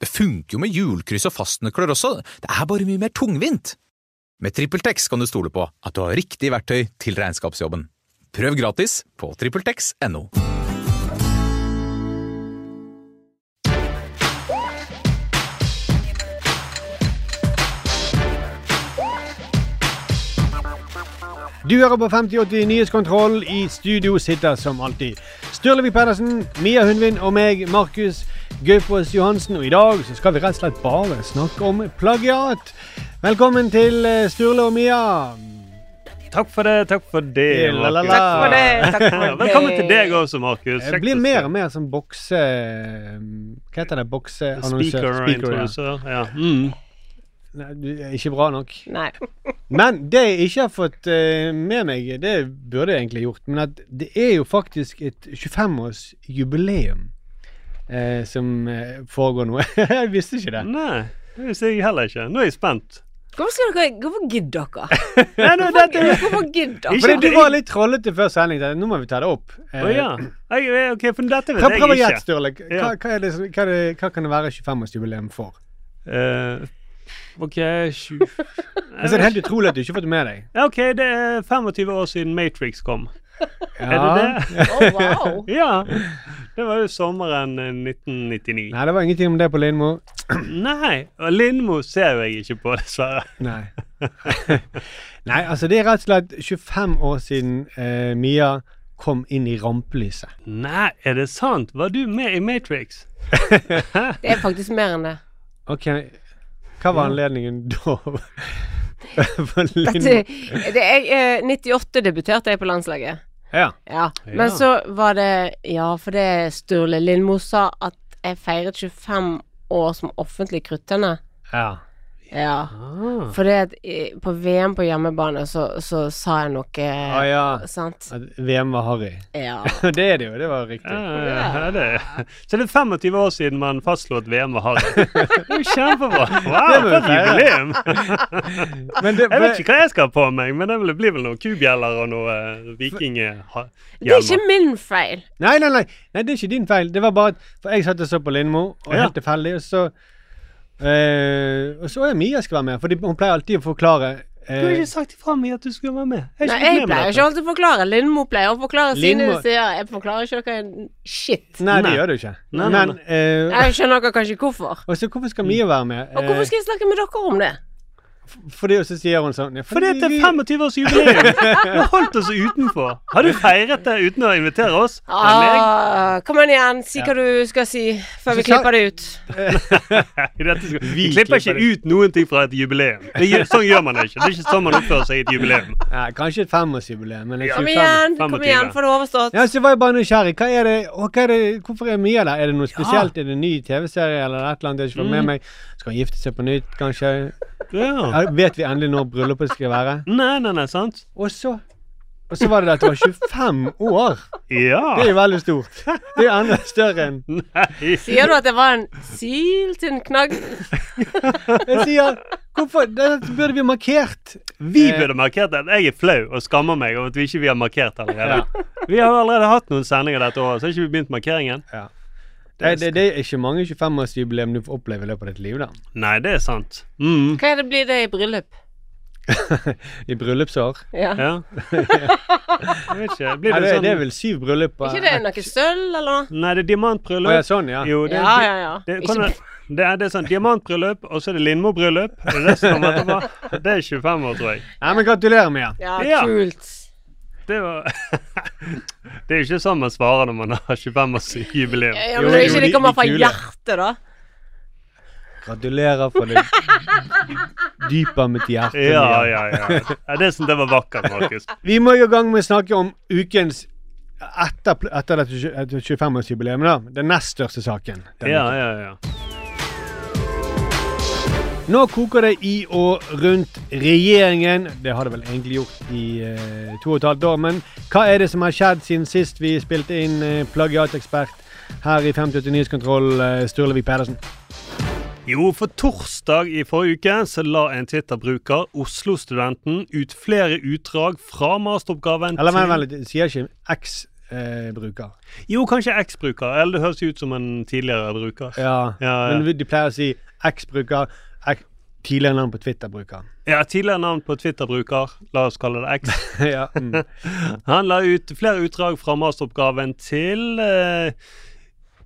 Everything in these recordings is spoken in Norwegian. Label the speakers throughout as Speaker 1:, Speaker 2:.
Speaker 1: Det funker jo med hjulkryss og fastnøkler også, det er bare mye mer tungvint. Med TrippelTex kan du stole på at du har riktig verktøy til regnskapsjobben. Prøv gratis på TrippelTex.no.
Speaker 2: Du hører på 5080 Nyhetskontroll. I studio sitter som alltid Sturlevik Pedersen, Mia Hundvin og meg, Markus Gaupås Johansen. Og i dag så skal vi rett og slett bare snakke om plagiat. Velkommen til eh, Sturle og Mia. Eh,
Speaker 3: Takk for det, takk for det.
Speaker 2: La, la, la.
Speaker 3: Markus.
Speaker 2: Takk for det,
Speaker 3: Ja, Velkommen til deg også, Markus.
Speaker 2: Det blir mer og mer som bokse... eh, Hva heter det? Bokseannonsør?
Speaker 3: Speaker,
Speaker 2: ja.
Speaker 3: speaker ja. Mm.
Speaker 2: Nei, du er Ikke bra nok.
Speaker 4: Nei.
Speaker 2: Men det jeg ikke har fått eh, med meg, det burde jeg egentlig gjort, men at det er jo faktisk et 25-årsjubileum eh, som eh, foregår nå. jeg visste ikke det.
Speaker 3: Nei, det visste jeg heller ikke. Nå er jeg spent.
Speaker 4: Hvorfor, skal dere, hvorfor gidder dere?
Speaker 3: Nei, nå, dette er
Speaker 4: Hvorfor gidder
Speaker 3: Ikke-
Speaker 4: dere?
Speaker 2: Fordi du var litt trollete før sending. tenkte jeg, Nå må vi ta det opp. Eh,
Speaker 3: Å ja. Jeg, jeg- ok, for dette
Speaker 2: Prøv,
Speaker 3: vet
Speaker 2: prøv å
Speaker 3: jeg
Speaker 2: gjette,
Speaker 3: ikke.
Speaker 2: Sturle. Hva,
Speaker 3: Ja.
Speaker 2: hva, er det som- hva, er det- hva kan det være 25-årsjubileum for?
Speaker 3: Eh, OK, sju
Speaker 2: Altså, det er
Speaker 3: Eh.
Speaker 2: helt utrolig at du ikke har fått det med deg.
Speaker 3: Ja, OK, det er 25 år siden Matrix kom. Er
Speaker 2: Ja.
Speaker 3: det det?
Speaker 4: Å, wow.
Speaker 3: Ja. Det var jo sommeren eh, 1999.
Speaker 2: Nei, det var ingenting om det på Lindmo.
Speaker 3: Nei. Og Lindmo ser jo jeg ikke på, dessverre.
Speaker 2: Nei. Nei, altså det er rett og slett 25 år siden eh, Mia kom inn i rampelyset.
Speaker 3: Nei, er det sant? Var du med i Matrix?
Speaker 4: Det er faktisk mer enn det.
Speaker 2: Ok, hva var anledningen da? For
Speaker 4: Dette,
Speaker 2: Lindmo?
Speaker 4: det er, eh, 98 debuterte jeg på landslaget.
Speaker 2: Ja.
Speaker 3: Ja.
Speaker 4: Ja. Men så var det Ja, for det Sturle Lindmo sa, at jeg feiret 25 år som offentlig kruttende.
Speaker 2: ja.
Speaker 4: Ja.
Speaker 3: Ah.
Speaker 4: For det at eh, på VM på hjemmebane så, så sa jeg noe
Speaker 2: Å
Speaker 3: Ah,
Speaker 2: ja.
Speaker 4: Sant?
Speaker 2: At VM var harry.
Speaker 4: Ja.
Speaker 2: det er det jo, det var riktig.
Speaker 3: Ja, ja, det. Så det er 25 år siden man fastslo at VM var hardt. Det er jo kjempebra. Wow,
Speaker 2: må vi
Speaker 3: for et
Speaker 2: feire.
Speaker 3: jubileum!
Speaker 2: Men det,
Speaker 3: Jeg vet ikke hva jeg skal ha på meg, men det blir- blir vel noen kubjeller og noe eh,
Speaker 4: Det er ikke
Speaker 3: vikinghjelmer.
Speaker 4: min feil.
Speaker 2: Nei, nei, nei, nei, det er ikke din feil. Det var bare at For jeg satt og så på Lindmo, og
Speaker 3: Ja.
Speaker 2: helt tilfeldig, og så eh, Og så er Mia skal være med, for hun pleier alltid å forklare
Speaker 3: Du har
Speaker 2: eh,
Speaker 3: ikke sagt ifra meg at du skulle være med. Jeg
Speaker 4: Nei,
Speaker 3: har
Speaker 4: jeg
Speaker 3: ikke fått med
Speaker 4: pleier
Speaker 3: meg
Speaker 4: ikke
Speaker 3: dette.
Speaker 4: alltid å forklare. Lindmo pleier å forklare sine
Speaker 2: Lindmo-
Speaker 4: sider. Jeg forklarer ikke dere en shit.
Speaker 2: Nei, det
Speaker 3: Nei.
Speaker 2: gjør du ikke.
Speaker 3: Nei, nei,
Speaker 2: Men eh,
Speaker 4: Jeg skjønner dere kanskje hvorfor.
Speaker 2: Og så Altså, hvorfor skal Mia være med?
Speaker 4: Og
Speaker 3: Eh.
Speaker 4: hvorfor skal jeg snakke med dere om det?
Speaker 2: Eh, Fordi og så sier hun sånn ja,
Speaker 3: For det er
Speaker 2: vi-
Speaker 3: 25 års jubileum! Du har holdt oss utenfor. Har du feiret det uten å invitere oss? Eller meg?
Speaker 4: Ah, kom an igjen, si hva du skal si før
Speaker 2: Så
Speaker 4: vi
Speaker 2: sa-
Speaker 4: klipper det ut.
Speaker 3: Dette skal-
Speaker 2: Vi
Speaker 3: Vi klipper ikke
Speaker 2: klipper
Speaker 3: ut noen ting fra et jubileum. Det, gjør- sånn gjør man det ikke. Det er ikke sånn man oppfører seg i et jubileum.
Speaker 2: Nei, Kanskje et femårsjubileum, men et
Speaker 4: Kom
Speaker 2: 25.
Speaker 4: igjen, kom
Speaker 3: 25.
Speaker 4: igjen, få det overstått.
Speaker 2: Ja, så var jeg bare nysgjerrig. Hva er det, og hva er det, hvorfor er Mia der? Er det noe spesielt? Er det en ny TV-serie eller et eller annet jeg ikke får med meg? Skal hun gifte seg på nytt, kanskje?
Speaker 3: Ja.
Speaker 2: Ja, vet vi endelig når bryllupet skal være?
Speaker 3: Nei, nei, nei, sant?
Speaker 2: Og så Og så var det det at det var 25 år! Det er
Speaker 3: Ja.
Speaker 2: jo veldig stort. Det er jo enda større enn
Speaker 3: Nei.
Speaker 4: Sier du at det var en sil til en knagg?
Speaker 2: Jeg sier Hvorfor? Dette burde vi markert. Eh,
Speaker 3: Vi burde markert det. Jeg er flau og skammer meg over at vi ikke vi har markert allerede.
Speaker 2: Ja.
Speaker 3: Vi har jo allerede hatt noen sendinger dette året, så har ikke vi begynt markeringen.
Speaker 2: Det, det, det er ikke mange 25-årsjubileum du får oppleve i løpet av ditt liv, da.
Speaker 3: Nei, det er sant. Mm.
Speaker 4: Hva er det blir det i bryllup?
Speaker 2: I bryllupsår.
Speaker 4: Ja.
Speaker 3: Ja. Jeg vet ikke. Blir
Speaker 2: Nei, det,
Speaker 3: det
Speaker 2: det er
Speaker 3: sånn
Speaker 2: vel syv bryllup eh. på
Speaker 4: Ikke det noe sølv, eller noe?
Speaker 3: Nei, det er
Speaker 2: Å ja,
Speaker 3: diamantbryllup.
Speaker 2: sånn, ja.
Speaker 3: Jo, det
Speaker 4: Ja, ja, ja.
Speaker 3: det-
Speaker 4: Ikke
Speaker 3: hvordan- Det er, det er sånn diamantbryllup, og så er det Lindmo-bryllup. Det er det som kommer etterpå. Det er 25 år, tror jeg.
Speaker 2: Nei, men gratulerer, Mia.
Speaker 4: Ja,
Speaker 3: Ja.
Speaker 4: kult.
Speaker 3: Det var Det er jo ikke sånn man svarer når man har 25-årsjubileum.
Speaker 4: Ja,
Speaker 2: Jo,
Speaker 4: men det er
Speaker 2: jo,
Speaker 4: ikke
Speaker 2: de-
Speaker 4: det kommer
Speaker 2: de
Speaker 4: fra
Speaker 2: kule.
Speaker 4: hjertet, da.
Speaker 2: Gratulerer fra det dype av mitt hjerte.
Speaker 3: Ja,
Speaker 2: Mia.
Speaker 3: ja, ja. ja det, er sånn, det var vakkert, Markus.
Speaker 2: Vi må jo i gang med å snakke om ukens etter, etter dette tjue- etter 25-årsjubileet, da. Den nest største saken. denne
Speaker 3: Ja,
Speaker 2: uken.
Speaker 3: ja, ja.
Speaker 2: Nå koker det i og rundt regjeringen. Det har det vel egentlig gjort i eh, to og et halvt år. Men hva er det som har skjedd siden sist vi spilte inn eh, plagiatekspert her i 5080 Nyhetskontroll, eh, Sturlevik Pedersen?
Speaker 3: Jo, for torsdag i forrige uke så la en Twitter-bruker, Oslo-studenten, ut flere utdrag fra masteroppgaven
Speaker 2: Eller vent, vent litt, sier ikke eh, eks-bruker.
Speaker 3: Jo, kanskje X-bruker. Eller det høres ut som en tidligere bruker.
Speaker 2: ja.
Speaker 3: Ja, ja.
Speaker 2: Men vi- de pleier å si eks-bruker, ek- tidligere navn på Twitter-bruker.
Speaker 3: Ja, tidligere navn på Twitter-bruker. La oss kalle det X.
Speaker 2: ja, mm.
Speaker 3: Han la ut flere utdrag fra masteroppgaven til eh,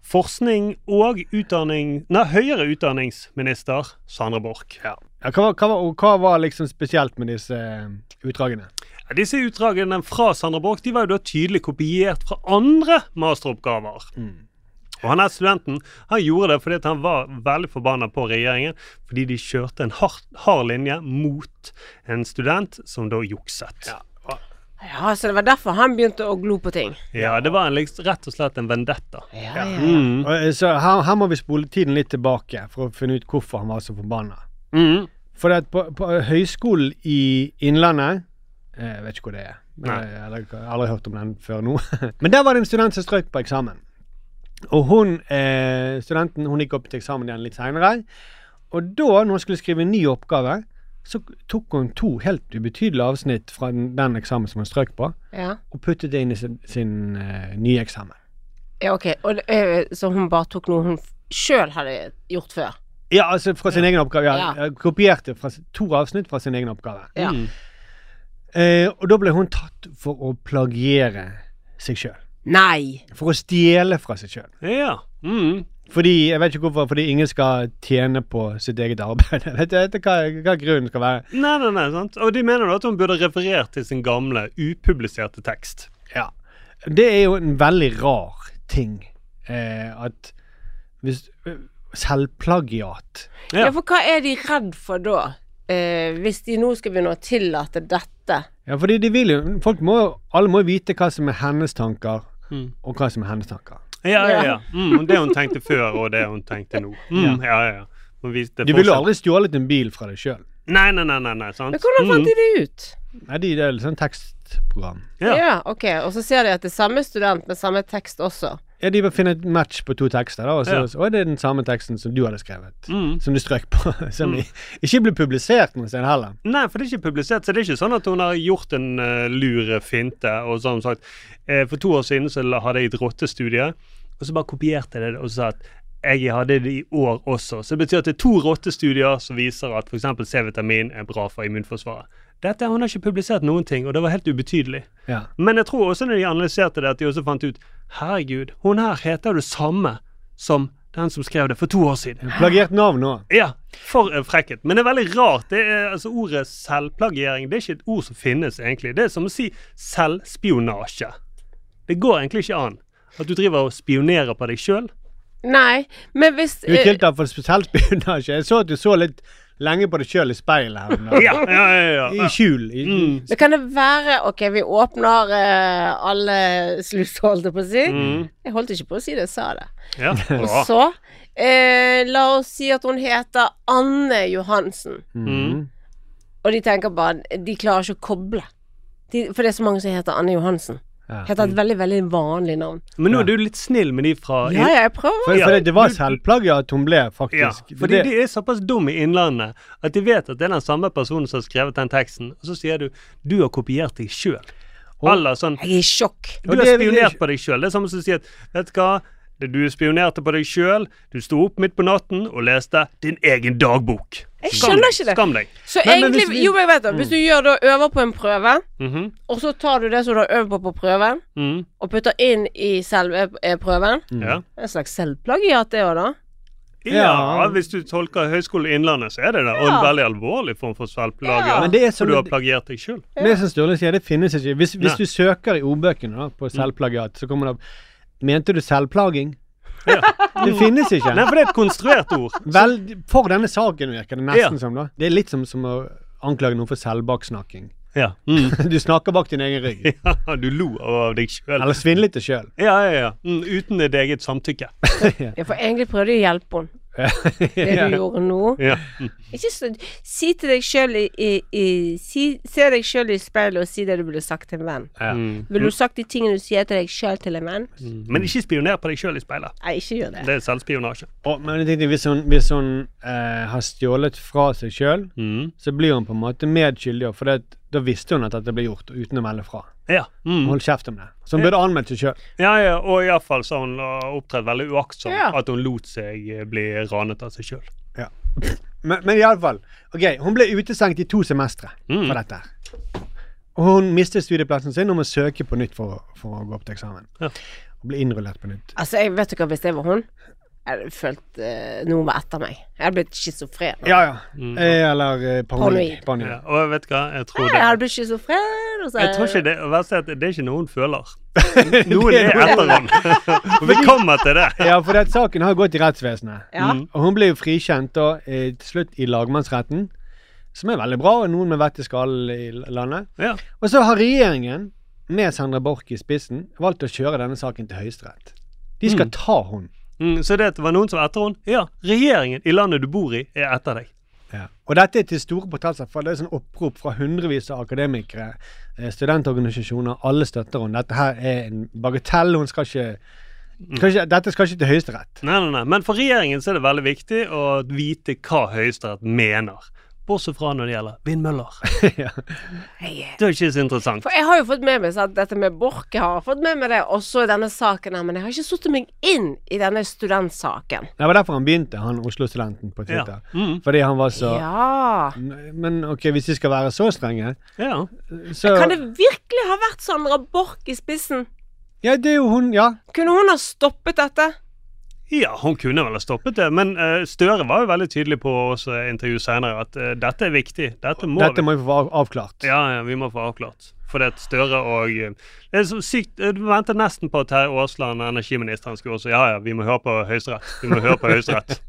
Speaker 3: forskning og utdanning Nei, høyere utdanningsminister Sandra Borch.
Speaker 2: ja, hva, var- hva, var- og hva var liksom spesielt med disse eh, utdragene?
Speaker 3: Ja, Disse utdragene fra Sandra Borch de var jo da tydelig kopiert fra andre masteroppgaver. Og han her studenten han gjorde det fordi at han var veldig forbanna på regjeringen fordi de kjørte en hard, hard linje mot en student som da jukset. Ja.
Speaker 4: Ja, så det var derfor han begynte å glo på ting.
Speaker 3: det var en, liksom- rett og slett en vendetta.
Speaker 4: Ja, ja.
Speaker 3: Mm.
Speaker 2: Og, eh, Så her, her må vi spole tiden litt tilbake for å finne ut hvorfor han var så forbanna.
Speaker 3: Mm.
Speaker 2: For at på, på Høgskolen i Innlandet eh, Jeg vet ikke hvor det er. Men
Speaker 3: Nei.
Speaker 2: jeg, eller, jeg har aldri hørt om den før nå. men der var det en student som strøk på eksamen. Og hun, eh, studenten hun gikk opp til eksamen igjen litt seinere. Og da, når hun skulle skrive en ny oppgave, så tok hun to helt ubetydelige avsnitt fra den, den eksamen som hun strøk på,
Speaker 4: Ja.
Speaker 2: og puttet det inn i sin, sin eh, nye eksamen.
Speaker 4: Ja, ok. Og det, eh, så hun bare tok noe hun sjøl hadde gjort før?
Speaker 2: Ja, altså fra sin egen oppgave. Ja.
Speaker 4: Ja.
Speaker 2: Kopierte fra, sin- to avsnitt fra sin egen oppgave.
Speaker 4: Ja.
Speaker 2: Eh, og da ble hun tatt for å plagiere seg sjøl.
Speaker 4: Nei!
Speaker 2: For å stjele fra seg sjøl.
Speaker 3: Ja. Mm.
Speaker 2: Fordi jeg vet ikke hvorfor, fordi ingen skal tjene på sitt eget arbeid. Jeg vet jeg vet ikke hva, hva grunnen skal være.
Speaker 3: Nei, nei, nei, sant? Og de mener da at hun burde referert til sin gamle, upubliserte tekst.
Speaker 2: Ja. Det er jo en veldig rar ting eh, at hvis eh, Selvplagiat.
Speaker 4: Ja.
Speaker 3: Ja.
Speaker 4: for hva er de redd for da? Eh, hvis de nå skal begynne å tillate dette?
Speaker 2: Ja, fordi de vil jo Folk må jo Alle må jo vite hva som er hennes tanker, og hva som er hennes tanker.
Speaker 3: Ja, ja, ja. Mm, det hun tenkte før, og det hun tenkte nå. Mm, ja, ja, ja. Hun viste
Speaker 2: Du ville jo
Speaker 3: fortsatt-
Speaker 2: aldri stjålet en bil fra deg sjøl.
Speaker 3: Nei, nei, nei, nei, nei sant? Mm.
Speaker 4: Men hvordan fant de det ut?
Speaker 2: Nei, de, det er litt sånn tekstprogram.
Speaker 3: Ja.
Speaker 4: Ja. ok. Og så ser de at det er samme student med samme tekst også.
Speaker 2: Ja, de bare finner et match på to tekster, da, og så
Speaker 3: Ja.
Speaker 2: og det er den samme teksten som du hadde skrevet.
Speaker 3: Mm.
Speaker 2: Som du strøk på. Som i- ikke ble publisert noe sted heller.
Speaker 3: Nei, for det er ikke publisert, så det er ikke sånn at hun har gjort en eh, lur finte. og sånn sagt. Eh, for to år siden så la- hadde jeg et rottestudie, og så bare kopierte jeg det og sa at jeg hadde det i år også. Så det betyr at det er to rottestudier som viser at f.eks. C-vitamin er bra for immunforsvaret. Dette, Hun har ikke publisert noen ting, og det var helt ubetydelig.
Speaker 2: Ja.
Speaker 3: Men jeg tror også når de analyserte det, at de også fant ut herregud, hun her heter jo det samme som den som skrev det for to år siden.
Speaker 2: Plagiert navn òg.
Speaker 3: Ja, for en frekkhet. Men det er veldig rart. Det er, altså, ordet selvplagiering det er ikke et ord som finnes, egentlig. Det er som å si selvspionasje. Det går egentlig ikke an. At du driver og spionerer på deg sjøl.
Speaker 4: Nei, men hvis
Speaker 2: Du er
Speaker 4: eh,
Speaker 2: tiltalt for selvspionasje. Jeg så at du så litt lenge på deg sjøl i speilet her. om dagen.
Speaker 3: Ja, Mm. ja, ja,
Speaker 2: I
Speaker 3: ja.
Speaker 2: skjul. I, i,
Speaker 4: Men kan det være Ok, vi åpner eh, alle sluser, holdt jeg på å si. Jeg holdt ikke på å si det, jeg sa det.
Speaker 3: ja. Bra.
Speaker 4: Og så eh, La oss si at hun heter Anne Johansen.
Speaker 3: Mm.
Speaker 4: Og de tenker bare De klarer ikke å koble. De, for det er så mange som heter Anne Johansen.
Speaker 2: Ja.
Speaker 4: Heter et veldig, veldig vanlig navn.
Speaker 3: Men nå er du litt snill med de fra
Speaker 4: Ja, ja, jeg prøver.
Speaker 2: For,
Speaker 3: Ja.
Speaker 2: for det, det var selvplagiat hun ble,
Speaker 3: Ja,
Speaker 2: faktisk. Det-
Speaker 3: fordi de er såpass dumme i Innlandet at de vet at det er den samme personen som har skrevet den teksten, og så sier du 'du har kopiert deg sjøl'. Eller sånn
Speaker 4: Jeg er i sjokk.
Speaker 3: Du
Speaker 2: Og
Speaker 3: har
Speaker 2: det vil jeg
Speaker 3: spionert
Speaker 2: ikke-
Speaker 3: på deg sjøl. Det er samme som å si at vet du hva, Det du spionerte på deg sjøl. Du sto opp midt på natten og leste din egen dagbok.
Speaker 4: Jeg
Speaker 3: Skam
Speaker 4: skjønner
Speaker 3: deg,
Speaker 4: ikke det.
Speaker 3: Skam deg.
Speaker 4: Så
Speaker 2: Men- men
Speaker 4: egentlig
Speaker 2: hvis vi-
Speaker 4: Jo, men jeg vet det. Hvis du gjør da øver på en prøve,
Speaker 3: Mhm,
Speaker 4: og så tar du det som du har øvd på på prøven,
Speaker 3: mhm,
Speaker 4: og putter inn i selve eh, prøven
Speaker 3: ja.
Speaker 4: En slags selvplagiat, det òg, da.
Speaker 3: Ja,
Speaker 2: Ja.
Speaker 3: hvis du tolker Høgskolen Innlandet, så er det det. Og en
Speaker 4: Ja.
Speaker 3: veldig alvorlig form for selvplage.
Speaker 4: Ja.
Speaker 2: Men det er som
Speaker 3: For du har plagiert deg sjøl.
Speaker 2: Det som Sturle sier, det finnes ikke. Hvis, hvis
Speaker 3: Nei. Mm.
Speaker 2: du søker i ordbøkene da, på selvplagiat, så kommer det opp Mente du selvplaging? Det finnes ikke.
Speaker 3: Nei, for det er et konstruert ord.
Speaker 2: Vel, for denne saken virker det nesten
Speaker 3: Ja.
Speaker 2: som, da. Det er litt som, som å anklage noen for selvbaksnakking.
Speaker 3: Ja. Mm.
Speaker 2: Du snakker bak din egen rygg.
Speaker 3: ja du lo av deg sjøl.
Speaker 2: Eller svindlet det sjøl.
Speaker 3: Ja, ja, ja. Mm, uten ditt eget samtykke.
Speaker 4: Ja, for egentlig prøvde jeg å hjelpe henne. Det du gjorde nå.
Speaker 3: Ja. Mm.
Speaker 4: Ikke så, si til deg sjøl i, i, i si, Se deg sjøl i speilet og si det du ville sagt til en venn.
Speaker 3: Mm.
Speaker 4: Ville du sagt de tingene du sier til deg sjøl til en venn?
Speaker 3: Men ikke spioner på deg sjøl i speilet.
Speaker 4: Nei, ikke gjør det.
Speaker 3: Mm. Det er selvspionasje.
Speaker 2: Og, men jeg tenkte, hvis hun, hvis hun eh, har stjålet fra seg sjøl,
Speaker 3: Mm.
Speaker 2: så blir hun på en måte medskyldig. For det, da visste hun at dette ble gjort, uten å melde fra.
Speaker 3: Ja. Mm.
Speaker 2: Hold kjeft om det. Så hun burde anmeldt seg sjøl.
Speaker 3: Ja, ja, og iallfall så har hun uh, opptredd veldig uaktsomt.
Speaker 2: Ja.
Speaker 3: At hun lot seg uh, bli ranet av seg sjøl.
Speaker 2: Men, men iallfall. Ok, hun ble utestengt i to semestre
Speaker 3: Mm.
Speaker 2: for dette. her. Og hun mistet studieplassen sin og må søke på nytt for, å- for å gå opp til eksamen.
Speaker 3: Ja.
Speaker 2: Og bli innrullert på nytt.
Speaker 4: Altså, jeg vet du hva, hvis jeg var hun Jeg hadde følt eh, noen var etter meg. Jeg hadde blitt schizofren.
Speaker 2: Ja, ja.
Speaker 3: Mm.
Speaker 2: Eh, eller eh, paranoid.
Speaker 4: Paranoid.
Speaker 2: paranoid.
Speaker 3: Ja. Og jeg vet hva, jeg tror
Speaker 4: Jeg
Speaker 3: det
Speaker 4: hadde blitt eh, schizofren. og så-
Speaker 3: Jeg tror ikke det, det verste er at det er ikke noe hun føler. Noen er etter henne. Og vi kommer til det.
Speaker 2: Ja, for det, at saken har gått i rettsvesenet.
Speaker 4: Ja.
Speaker 3: Mm.
Speaker 2: Og hun ble jo frikjent da, eh, til slutt i lagmannsretten, som er veldig bra, og noen med vett i skallen i l- landet.
Speaker 3: Ja.
Speaker 2: Og så har regjeringen, med Sandra Borch i spissen, valgt å kjøre denne saken til Høyesterett. De skal ta hun.
Speaker 3: Mm, så det at det var noen som var etter henne? Ja, regjeringen i landet du bor i, er etter deg.
Speaker 2: Og dette er til store protester, for det er sånn opprop fra hundrevis av akademikere, eh, studentorganisasjoner, alle støtter henne. Dette her er en bagatell, hun skal ikke,
Speaker 3: Mm.
Speaker 2: skal ikke Dette skal ikke til Høyesterett.
Speaker 3: Nei, nei, nei. Men for regjeringen så er det veldig viktig å vite hva Høyesterett mener. Bortsett fra når det gjelder vindmøller.
Speaker 2: Ja.
Speaker 3: Det er ikke så interessant.
Speaker 4: For jeg har jo fått med meg sant, dette med Borch, jeg har fått med meg det også i denne saken her, men jeg har ikke satt meg inn i denne studentsaken.
Speaker 2: Det var derfor han begynte, han Oslo-studenten på
Speaker 3: Ja.
Speaker 2: Twitter.
Speaker 3: Mm,
Speaker 2: Fordi han var så
Speaker 4: Ja.
Speaker 2: Men ok, hvis de skal være så strenge,
Speaker 3: ja.
Speaker 2: så
Speaker 4: Kan det virkelig ha vært Sandra Borch i spissen?
Speaker 2: Ja, det er jo hun, ja.
Speaker 4: Kunne hun ha stoppet dette?
Speaker 3: Ja, hun kunne vel ha stoppet det, men eh, Støre var jo veldig tydelig på også i intervju senere at eh, dette er viktig. Dette må
Speaker 2: Dette
Speaker 3: vi.
Speaker 2: må vi få av- avklart.
Speaker 3: Ja, ja, vi må få avklart. For det er Støre og eh, Det er så sykt eh, Du venter nesten på at Terje Aasland, energiministeren, skulle også Ja, ja, vi må høre på Høyesterett. Vi må høre på Høyesterett.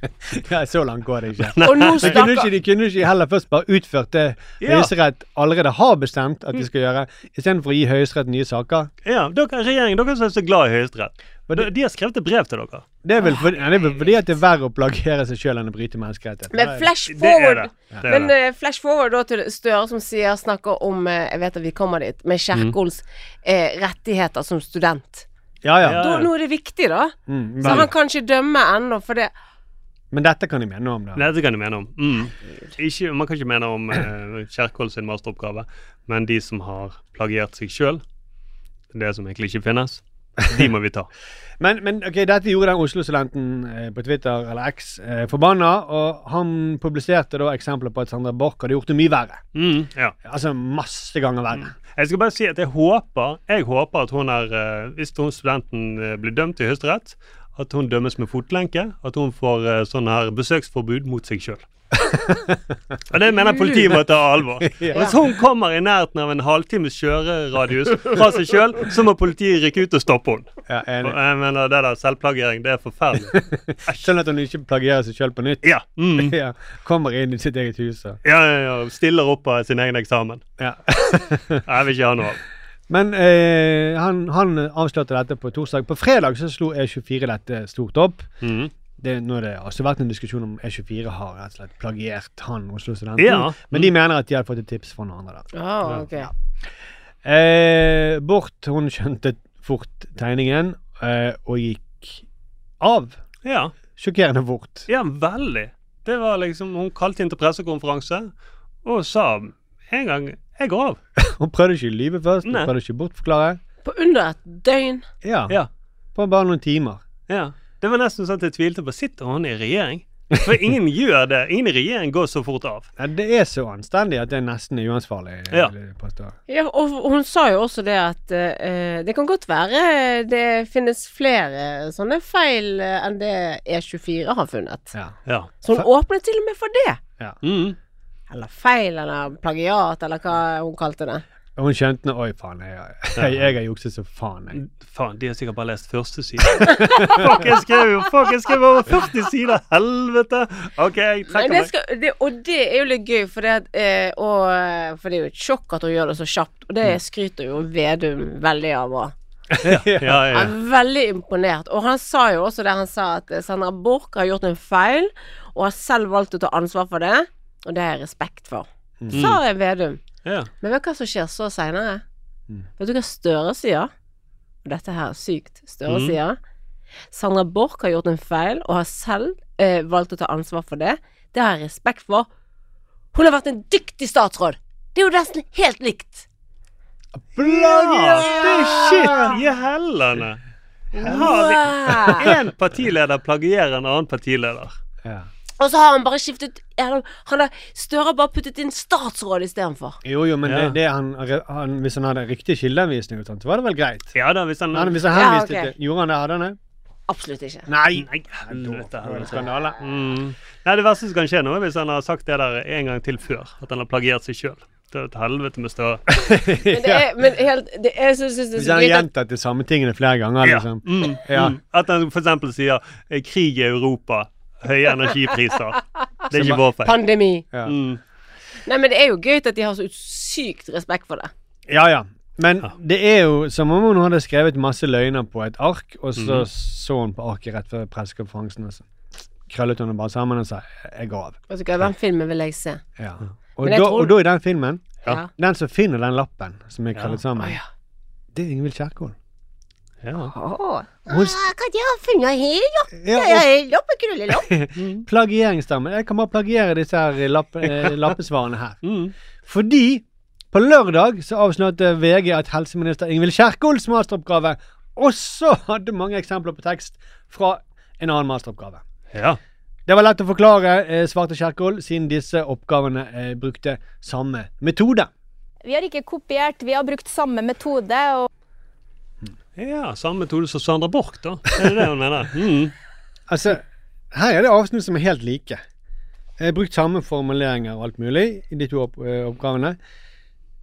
Speaker 2: Nei, så langt går det ikke.
Speaker 4: Og nå
Speaker 2: Så kunne ikke,
Speaker 4: snakker
Speaker 2: de kunne ikke heller først bare utført det
Speaker 3: Ja. Mm.
Speaker 2: Høyesterett allerede har bestemt at de skal gjøre, istedenfor å gi Høyesterett nye saker.
Speaker 3: Ja, dere, regjeringen, dere som er så glad i Høyesterett.
Speaker 2: Men
Speaker 3: De, de har skrevet et brev til dere.
Speaker 2: Det er vel fordi, nei, det er vel fordi at det er verre å plagiere seg sjøl enn å bryte menneskerettigheter.
Speaker 4: Men flash
Speaker 3: Det er det.
Speaker 4: forward.
Speaker 3: det, er
Speaker 4: Men
Speaker 3: det.
Speaker 4: eh, flash forward da til Støre som sier, snakker om eh, Jeg vet at vi kommer dit, med
Speaker 3: Mm.
Speaker 4: Kjerkols eh, rettigheter som student.
Speaker 2: Ja, ja.
Speaker 3: Ja.
Speaker 4: Da, nå er det viktig, da.
Speaker 2: Mm,
Speaker 4: Så
Speaker 2: men,
Speaker 4: han kan ikke dømme ennå, for det
Speaker 2: men dette kan de mene noe om, da.
Speaker 3: Dette kan du mene om. Mm. Ikke, man kan ikke mene om eh, Kjerkol sin masteroppgave, men de som har plagiert seg sjøl, det som egentlig ikke finnes, de må vi ta.
Speaker 2: Men, men ok, dette gjorde den Oslo-studenten eh, på Twitter, eller X, eh, forbanna, og han publiserte da eksempler på at Sandra Borch hadde gjort det mye verre.
Speaker 3: Mm, ja.
Speaker 2: Altså masse ganger verre.
Speaker 3: Jeg skal bare si at jeg håper, jeg håper at hun er eh, Hvis hun studenten eh, blir dømt i Høyesterett, at hun dømmes med fotlenke. At hun får eh, sånn her besøksforbud mot seg sjøl. Og det mener jeg politiet må ta alvor. Og Hvis hun kommer i nærheten av en halvtimes kjøreradius fra seg sjøl, så må politiet rykke ut og stoppe henne.
Speaker 2: Ja,
Speaker 3: Og
Speaker 2: enig.
Speaker 3: Jeg mener det der selvplagiering, det er forferdelig.
Speaker 2: Sånn at hun ikke plagierer seg sjøl på nytt.
Speaker 3: Ja. Mm.
Speaker 2: Ja, kommer inn i sitt eget hus og
Speaker 3: Ja, ja, ja. Stiller opp av sin egen eksamen.
Speaker 2: ja.
Speaker 3: Jeg vil ikke ha noe av.
Speaker 2: Men eh, han, han avslørte dette på torsdag. På fredag så slo E24 dette stort opp.
Speaker 3: Mhm.
Speaker 2: Det, nå har det også vært en diskusjon om E24 har rett og slett plagiert han Oslo-studenten.
Speaker 3: Ja.
Speaker 2: Men de mener at de hadde fått et tips fra noen andre. da.
Speaker 4: Ja, ok.
Speaker 2: Eh, Bort hun skjønte fort tegningen eh, og gikk av.
Speaker 3: Ja.
Speaker 2: Sjokkerende fort.
Speaker 3: Ja, veldig. Det var liksom, Hun kalte inn til pressekonferanse og sa en gang 'jeg går av'.
Speaker 2: Hun prøvde ikke å lyve først, hun
Speaker 3: Nei.
Speaker 2: prøvde ikke å bortforklare.
Speaker 4: På under et døgn.
Speaker 2: Ja,
Speaker 3: Ja,
Speaker 2: På bare noen timer.
Speaker 3: ja. Det var nesten sånn at jeg tvilte på sitter hun i regjering. For ingen gjør det. Ingen i regjering går så fort av.
Speaker 2: Nei, det er så anstendig at det er nesten uansvarlig. eh,
Speaker 3: Ja.
Speaker 2: vil jeg påstå.
Speaker 4: Ja, og hun sa jo også det at eh, det kan godt være eh, det finnes flere sånne feil eh, enn det E24 har funnet.
Speaker 2: Ja.
Speaker 3: Ja.
Speaker 4: Så hun åpnet til og med for det.
Speaker 3: Mm.
Speaker 4: Eller feil, eller plagiat, eller hva hun kalte det.
Speaker 2: Og hun skjønte nå Oi, faen, jeg, jeg, jeg har jukset som faen. Jeg.
Speaker 3: Faen, de har sikkert bare lest første side. Fuck, jeg skrev jo fuck, jeg skrev over 40 sider! Helvete! OK, jeg
Speaker 4: Nei,
Speaker 3: trekker
Speaker 4: det
Speaker 3: meg.
Speaker 4: skal, det, og det er jo litt gøy, for det, at, eh, og, eh, for det er jo et sjokk at hun gjør det så kjapt. Og det skryter jo Vedum veldig av òg.
Speaker 3: Ja, ja.
Speaker 4: Han er veldig imponert. Og han sa jo også det han sa, at eh, Sandra Borch har gjort en feil, og har selv valgt å ta ansvar for det. Og det har jeg respekt for. Sa jeg Vedum.
Speaker 3: Mm. ja. Mm.
Speaker 4: Men vet du hva som skjer så seinere? Vet du hva Støre sier? Og dette her er sykt. Støre
Speaker 3: Mm.
Speaker 4: sier Sandra Borch har gjort en feil og har selv eh, valgt å ta ansvar for det. Det har jeg respekt for. Hun har vært en dyktig statsråd! Det er jo nesten helt likt.
Speaker 3: Plagiater! Shit i hellene! Har vi
Speaker 4: Wow.
Speaker 3: én partileder plagierer en annen partileder?
Speaker 2: Ja.
Speaker 4: Og så har han bare skiftet han har, Støre har bare puttet inn statsråd istedenfor.
Speaker 2: Jo, jo, men
Speaker 3: Ja.
Speaker 2: det, det han, han, hvis han hadde riktig kildeanvisning, og sånt, så var det vel greit?
Speaker 3: Ja da, hvis han
Speaker 2: Han, hvis han henviste
Speaker 4: Ja, ok.
Speaker 2: til Gjorde han det? Hadde han det?
Speaker 4: Absolutt ikke.
Speaker 2: Nei!
Speaker 3: Nei, helvete.
Speaker 2: Da var det
Speaker 3: helvete.
Speaker 2: skandale.
Speaker 3: Mm. Nei, Det verste som kan skje nå, er hvis han har sagt det der en gang til før. At han har plagiert seg sjøl. Det er et helvete med Støre.
Speaker 4: Men det er, men helt, det er, jeg synes det er
Speaker 2: Hvis han
Speaker 4: så
Speaker 2: har
Speaker 4: gøy at
Speaker 2: gjentatt de samme tingene flere ganger,
Speaker 3: Ja.
Speaker 2: liksom.
Speaker 3: Mm.
Speaker 2: Ja.
Speaker 3: Mm. At han for eksempel sier eh, 'krig i Europa', høye energipriser. Det er ikke vår feil.
Speaker 4: Pandemi.
Speaker 2: Ja.
Speaker 3: Mm.
Speaker 4: Nei, men det er jo gøy at de har så sykt respekt for det.
Speaker 2: Ja, ja. Men det er jo som om hun hadde skrevet masse løgner på et ark, og så så hun på arket rett før pressekonferansen, og så krøllet hun det bare sammen og sa 'jeg går av'.
Speaker 4: Vet du hva, den filmen vil jeg se.
Speaker 2: Ja. Og,
Speaker 4: Men jeg
Speaker 2: da,
Speaker 4: tror-
Speaker 2: og da i den filmen,
Speaker 4: Ja.
Speaker 2: den som finner den lappen som er krøllet sammen,
Speaker 4: Å, ja.
Speaker 2: det er Ingvild Kjerkol.
Speaker 3: Ja.
Speaker 2: Hun s-
Speaker 4: hva de har funnet her, ja?
Speaker 2: ja, og
Speaker 4: Loppekrullelopp.
Speaker 2: plagieringsdamen. Jeg kan bare plagiere disse her lapp, eh, lappesvarene her.
Speaker 3: Mm.
Speaker 2: Fordi på lørdag så avslørte VG at helseminister Ingvild Kjerkols masteroppgave også hadde mange eksempler på tekst fra en annen masteroppgave.
Speaker 3: ja.
Speaker 2: Det var lett å forklare, eh, svarte Kjerkol, siden disse oppgavene eh, brukte samme metode.
Speaker 5: Vi har ikke kopiert, vi har brukt samme metode. Og
Speaker 3: Ja, samme metode som Sandra Borch, da. Er det det hun mener? Mm.
Speaker 2: Altså, her er det avsnitt som er helt like. Eh, brukt samme formuleringer og alt mulig i de to opp, eh, oppgavene.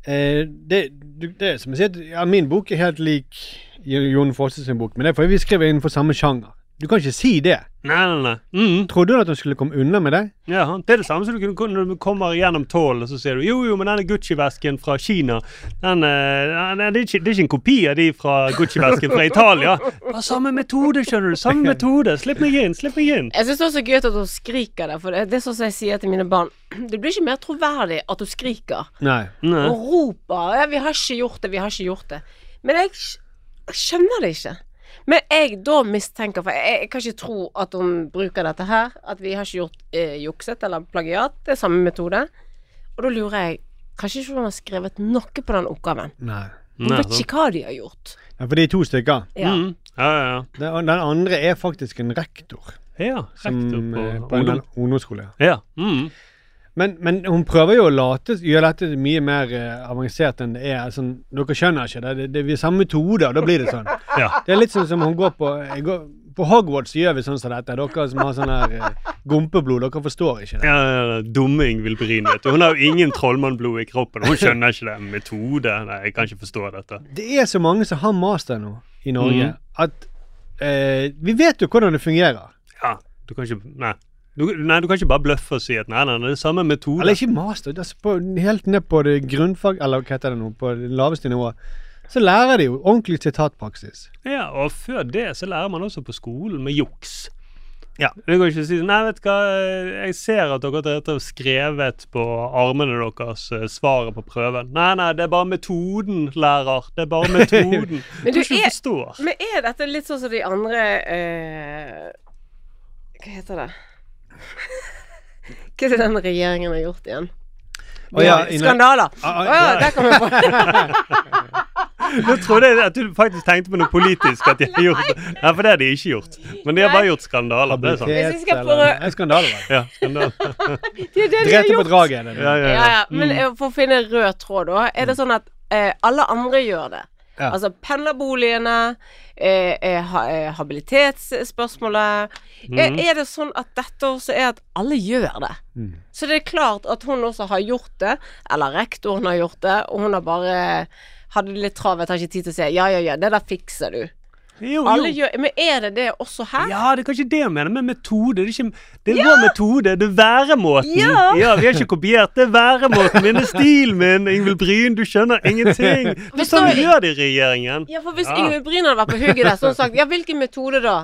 Speaker 2: Eh, det, du- det er som å si at ja, min bok er helt lik Jo- Jon Fosse sin bok, men det er fordi vi skriver innenfor samme sjanger. Du kan ikke si det.
Speaker 3: Nei, nei, nei. Mm.
Speaker 2: Trodde hun at hun skulle komme unna med det?
Speaker 3: Ja, det er det samme som du kunne kunne- når du kommer gjennom tålen, så sier du jo, jo, men denne Gucci-vesken fra Kina, den, eh, den det, er ikke, det er ikke en kopi av de fra Gucci-vesken fra Italia. Bare samme metode, skjønner du. Samme metode. Slipp meg inn, slipp meg inn.
Speaker 4: Jeg syns det er så gøy at hun skriker det, for det det er sånn som jeg sier til mine barn. Det blir ikke mer troverdig at hun skriker
Speaker 2: Nei.
Speaker 3: Nei.
Speaker 4: og roper ja, 'Vi har ikke gjort det, vi har ikke gjort det'. Men jeg, skj- jeg skjønner det ikke. Men jeg da mistenker, for jeg, jeg kan ikke tro at hun bruker dette her, at vi har ikke gjort eh, jukset eller plagiat. Det er samme metode. Og da lurer jeg Kanskje ikke hun har skrevet noe på den oppgaven.
Speaker 2: Nei.
Speaker 4: Hun
Speaker 3: Nei,
Speaker 4: vet
Speaker 3: sant.
Speaker 4: ikke hva de har gjort.
Speaker 2: Ja, for det er to stykker.
Speaker 4: Ja.
Speaker 3: Mm. Ja, ja,
Speaker 2: Den, den andre er faktisk en rektor.
Speaker 3: ja. ja
Speaker 2: Som,
Speaker 3: rektor
Speaker 2: eh,
Speaker 3: på,
Speaker 2: på en
Speaker 3: ungdom.
Speaker 2: ungdomsskole.
Speaker 3: Ja. Mm.
Speaker 2: Men, men hun prøver jo å late gjøre dette mye mer eh, avansert enn det er. Sånn, dere skjønner ikke det. Det, det, vi er samme metode, og da blir det sånn.
Speaker 3: ja.
Speaker 2: Det er litt sånn som hun går på jeg går, På Hogwarts gjør vi sånn som dette. Dere som har sånn her eh, gompeblod, dere forstår ikke det.
Speaker 3: Ja, ja, ja. Dumme Ingvild Bryn, vet du. Hun har jo ingen trollmannblod i kroppen. Hun skjønner ikke det. Metode. Nei, jeg kan ikke forstå dette.
Speaker 2: Det er så mange som har master nå i Norge, at eh, vi vet jo hvordan det fungerer.
Speaker 3: Ja, du kan ikke Nei. Du, nei, du kan ikke bare bløffe og si at nei, nei, det er samme metode.
Speaker 2: Eller ikke master, altså på, helt ned på det grunnfag, eller hva heter det nå, på det laveste nivået. Så lærer de jo ordentlig sitatpraksis.
Speaker 3: Ja, og før det så lærer man også på skolen med juks.
Speaker 2: Ja.
Speaker 3: Det går ikke å si Nei, vet du hva, jeg ser at dere har skrevet på armene deres eh, svaret på prøven. Nei, nei, det er bare metoden, lærer. Det er bare metoden.
Speaker 4: Men
Speaker 3: du
Speaker 4: du
Speaker 3: ikke
Speaker 4: er-
Speaker 3: forstår.
Speaker 4: Men er dette litt sånn som de andre eh, Hva heter det? Hva er det den regjeringen har gjort igjen?
Speaker 2: Å ja, i-
Speaker 4: Skandaler! Å
Speaker 2: Ah, ah,
Speaker 4: ja, der kom jeg på
Speaker 3: Nå trodde jeg at du faktisk tenkte på noe politisk at de har gjort det. Nei, for det har de ikke gjort. Men de har bare gjort skandaler. Det sånn? er sant.
Speaker 4: Hvis vi skal
Speaker 2: eller-
Speaker 4: prøve-
Speaker 2: Det er skandale, vel.
Speaker 3: Ja, skandaler.
Speaker 4: Det er det de har
Speaker 2: Drete
Speaker 4: gjort.
Speaker 2: på draget er det.
Speaker 3: Ja, Mm. ja,
Speaker 4: Ja,
Speaker 3: ja.
Speaker 4: ja. Men eh, for å finne en rød tråd, da. Er det sånn at eh, alle andre gjør det?
Speaker 2: Ja.
Speaker 4: Altså pendlerboligene, eh, eh, ha, eh, habilitetsspørsmålet. Er, er det sånn at dette også er at alle gjør det? Så det er klart at hun også har gjort det, eller rektoren har gjort det, og hun har bare hadde det litt travelt, har ikke tid til å si ja, ja, ja, det der fikser du.
Speaker 3: Jo,
Speaker 4: Alle
Speaker 3: jo.
Speaker 4: gjør, men er det det også her?
Speaker 3: Ja, det er kanskje det jeg mener med metode. Det er, ikke, det er vår metode. Det er væremåten.
Speaker 4: Ja.
Speaker 3: vi har ikke kopiert. Det er væremåten min, det er stilen min. Ingvild Bryn, du skjønner ingenting. Det
Speaker 4: Men
Speaker 3: er sånn
Speaker 4: da-
Speaker 3: vi gjør det i regjeringen.
Speaker 4: Ja, for hvis
Speaker 3: Ja.
Speaker 4: Ingrid Bryn hadde vært på hugget der, så hadde hun sagt ja, hvilken metode da?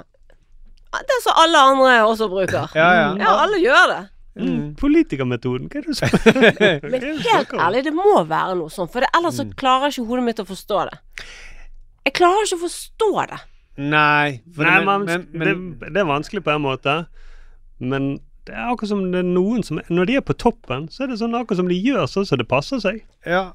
Speaker 4: Ja, Det som alle andre også bruker.
Speaker 2: Ja, ja.
Speaker 4: Ja, alle gjør det.
Speaker 3: Mm. Politikermetoden. Hva er det du snakker om?
Speaker 4: Men helt ærlig, det må være noe sånn, for det, ellers så klarer ikke hodet mitt å forstå det. Jeg klarer ikke å forstå det.
Speaker 2: Nei, for
Speaker 3: Nei,
Speaker 2: det-
Speaker 3: man,
Speaker 2: men, men,
Speaker 3: det, det er vanskelig på en måte, men det er akkurat som det er noen som Når de er på toppen, så er det sånn akkurat som de gjør sånn som det passer seg.
Speaker 2: ja,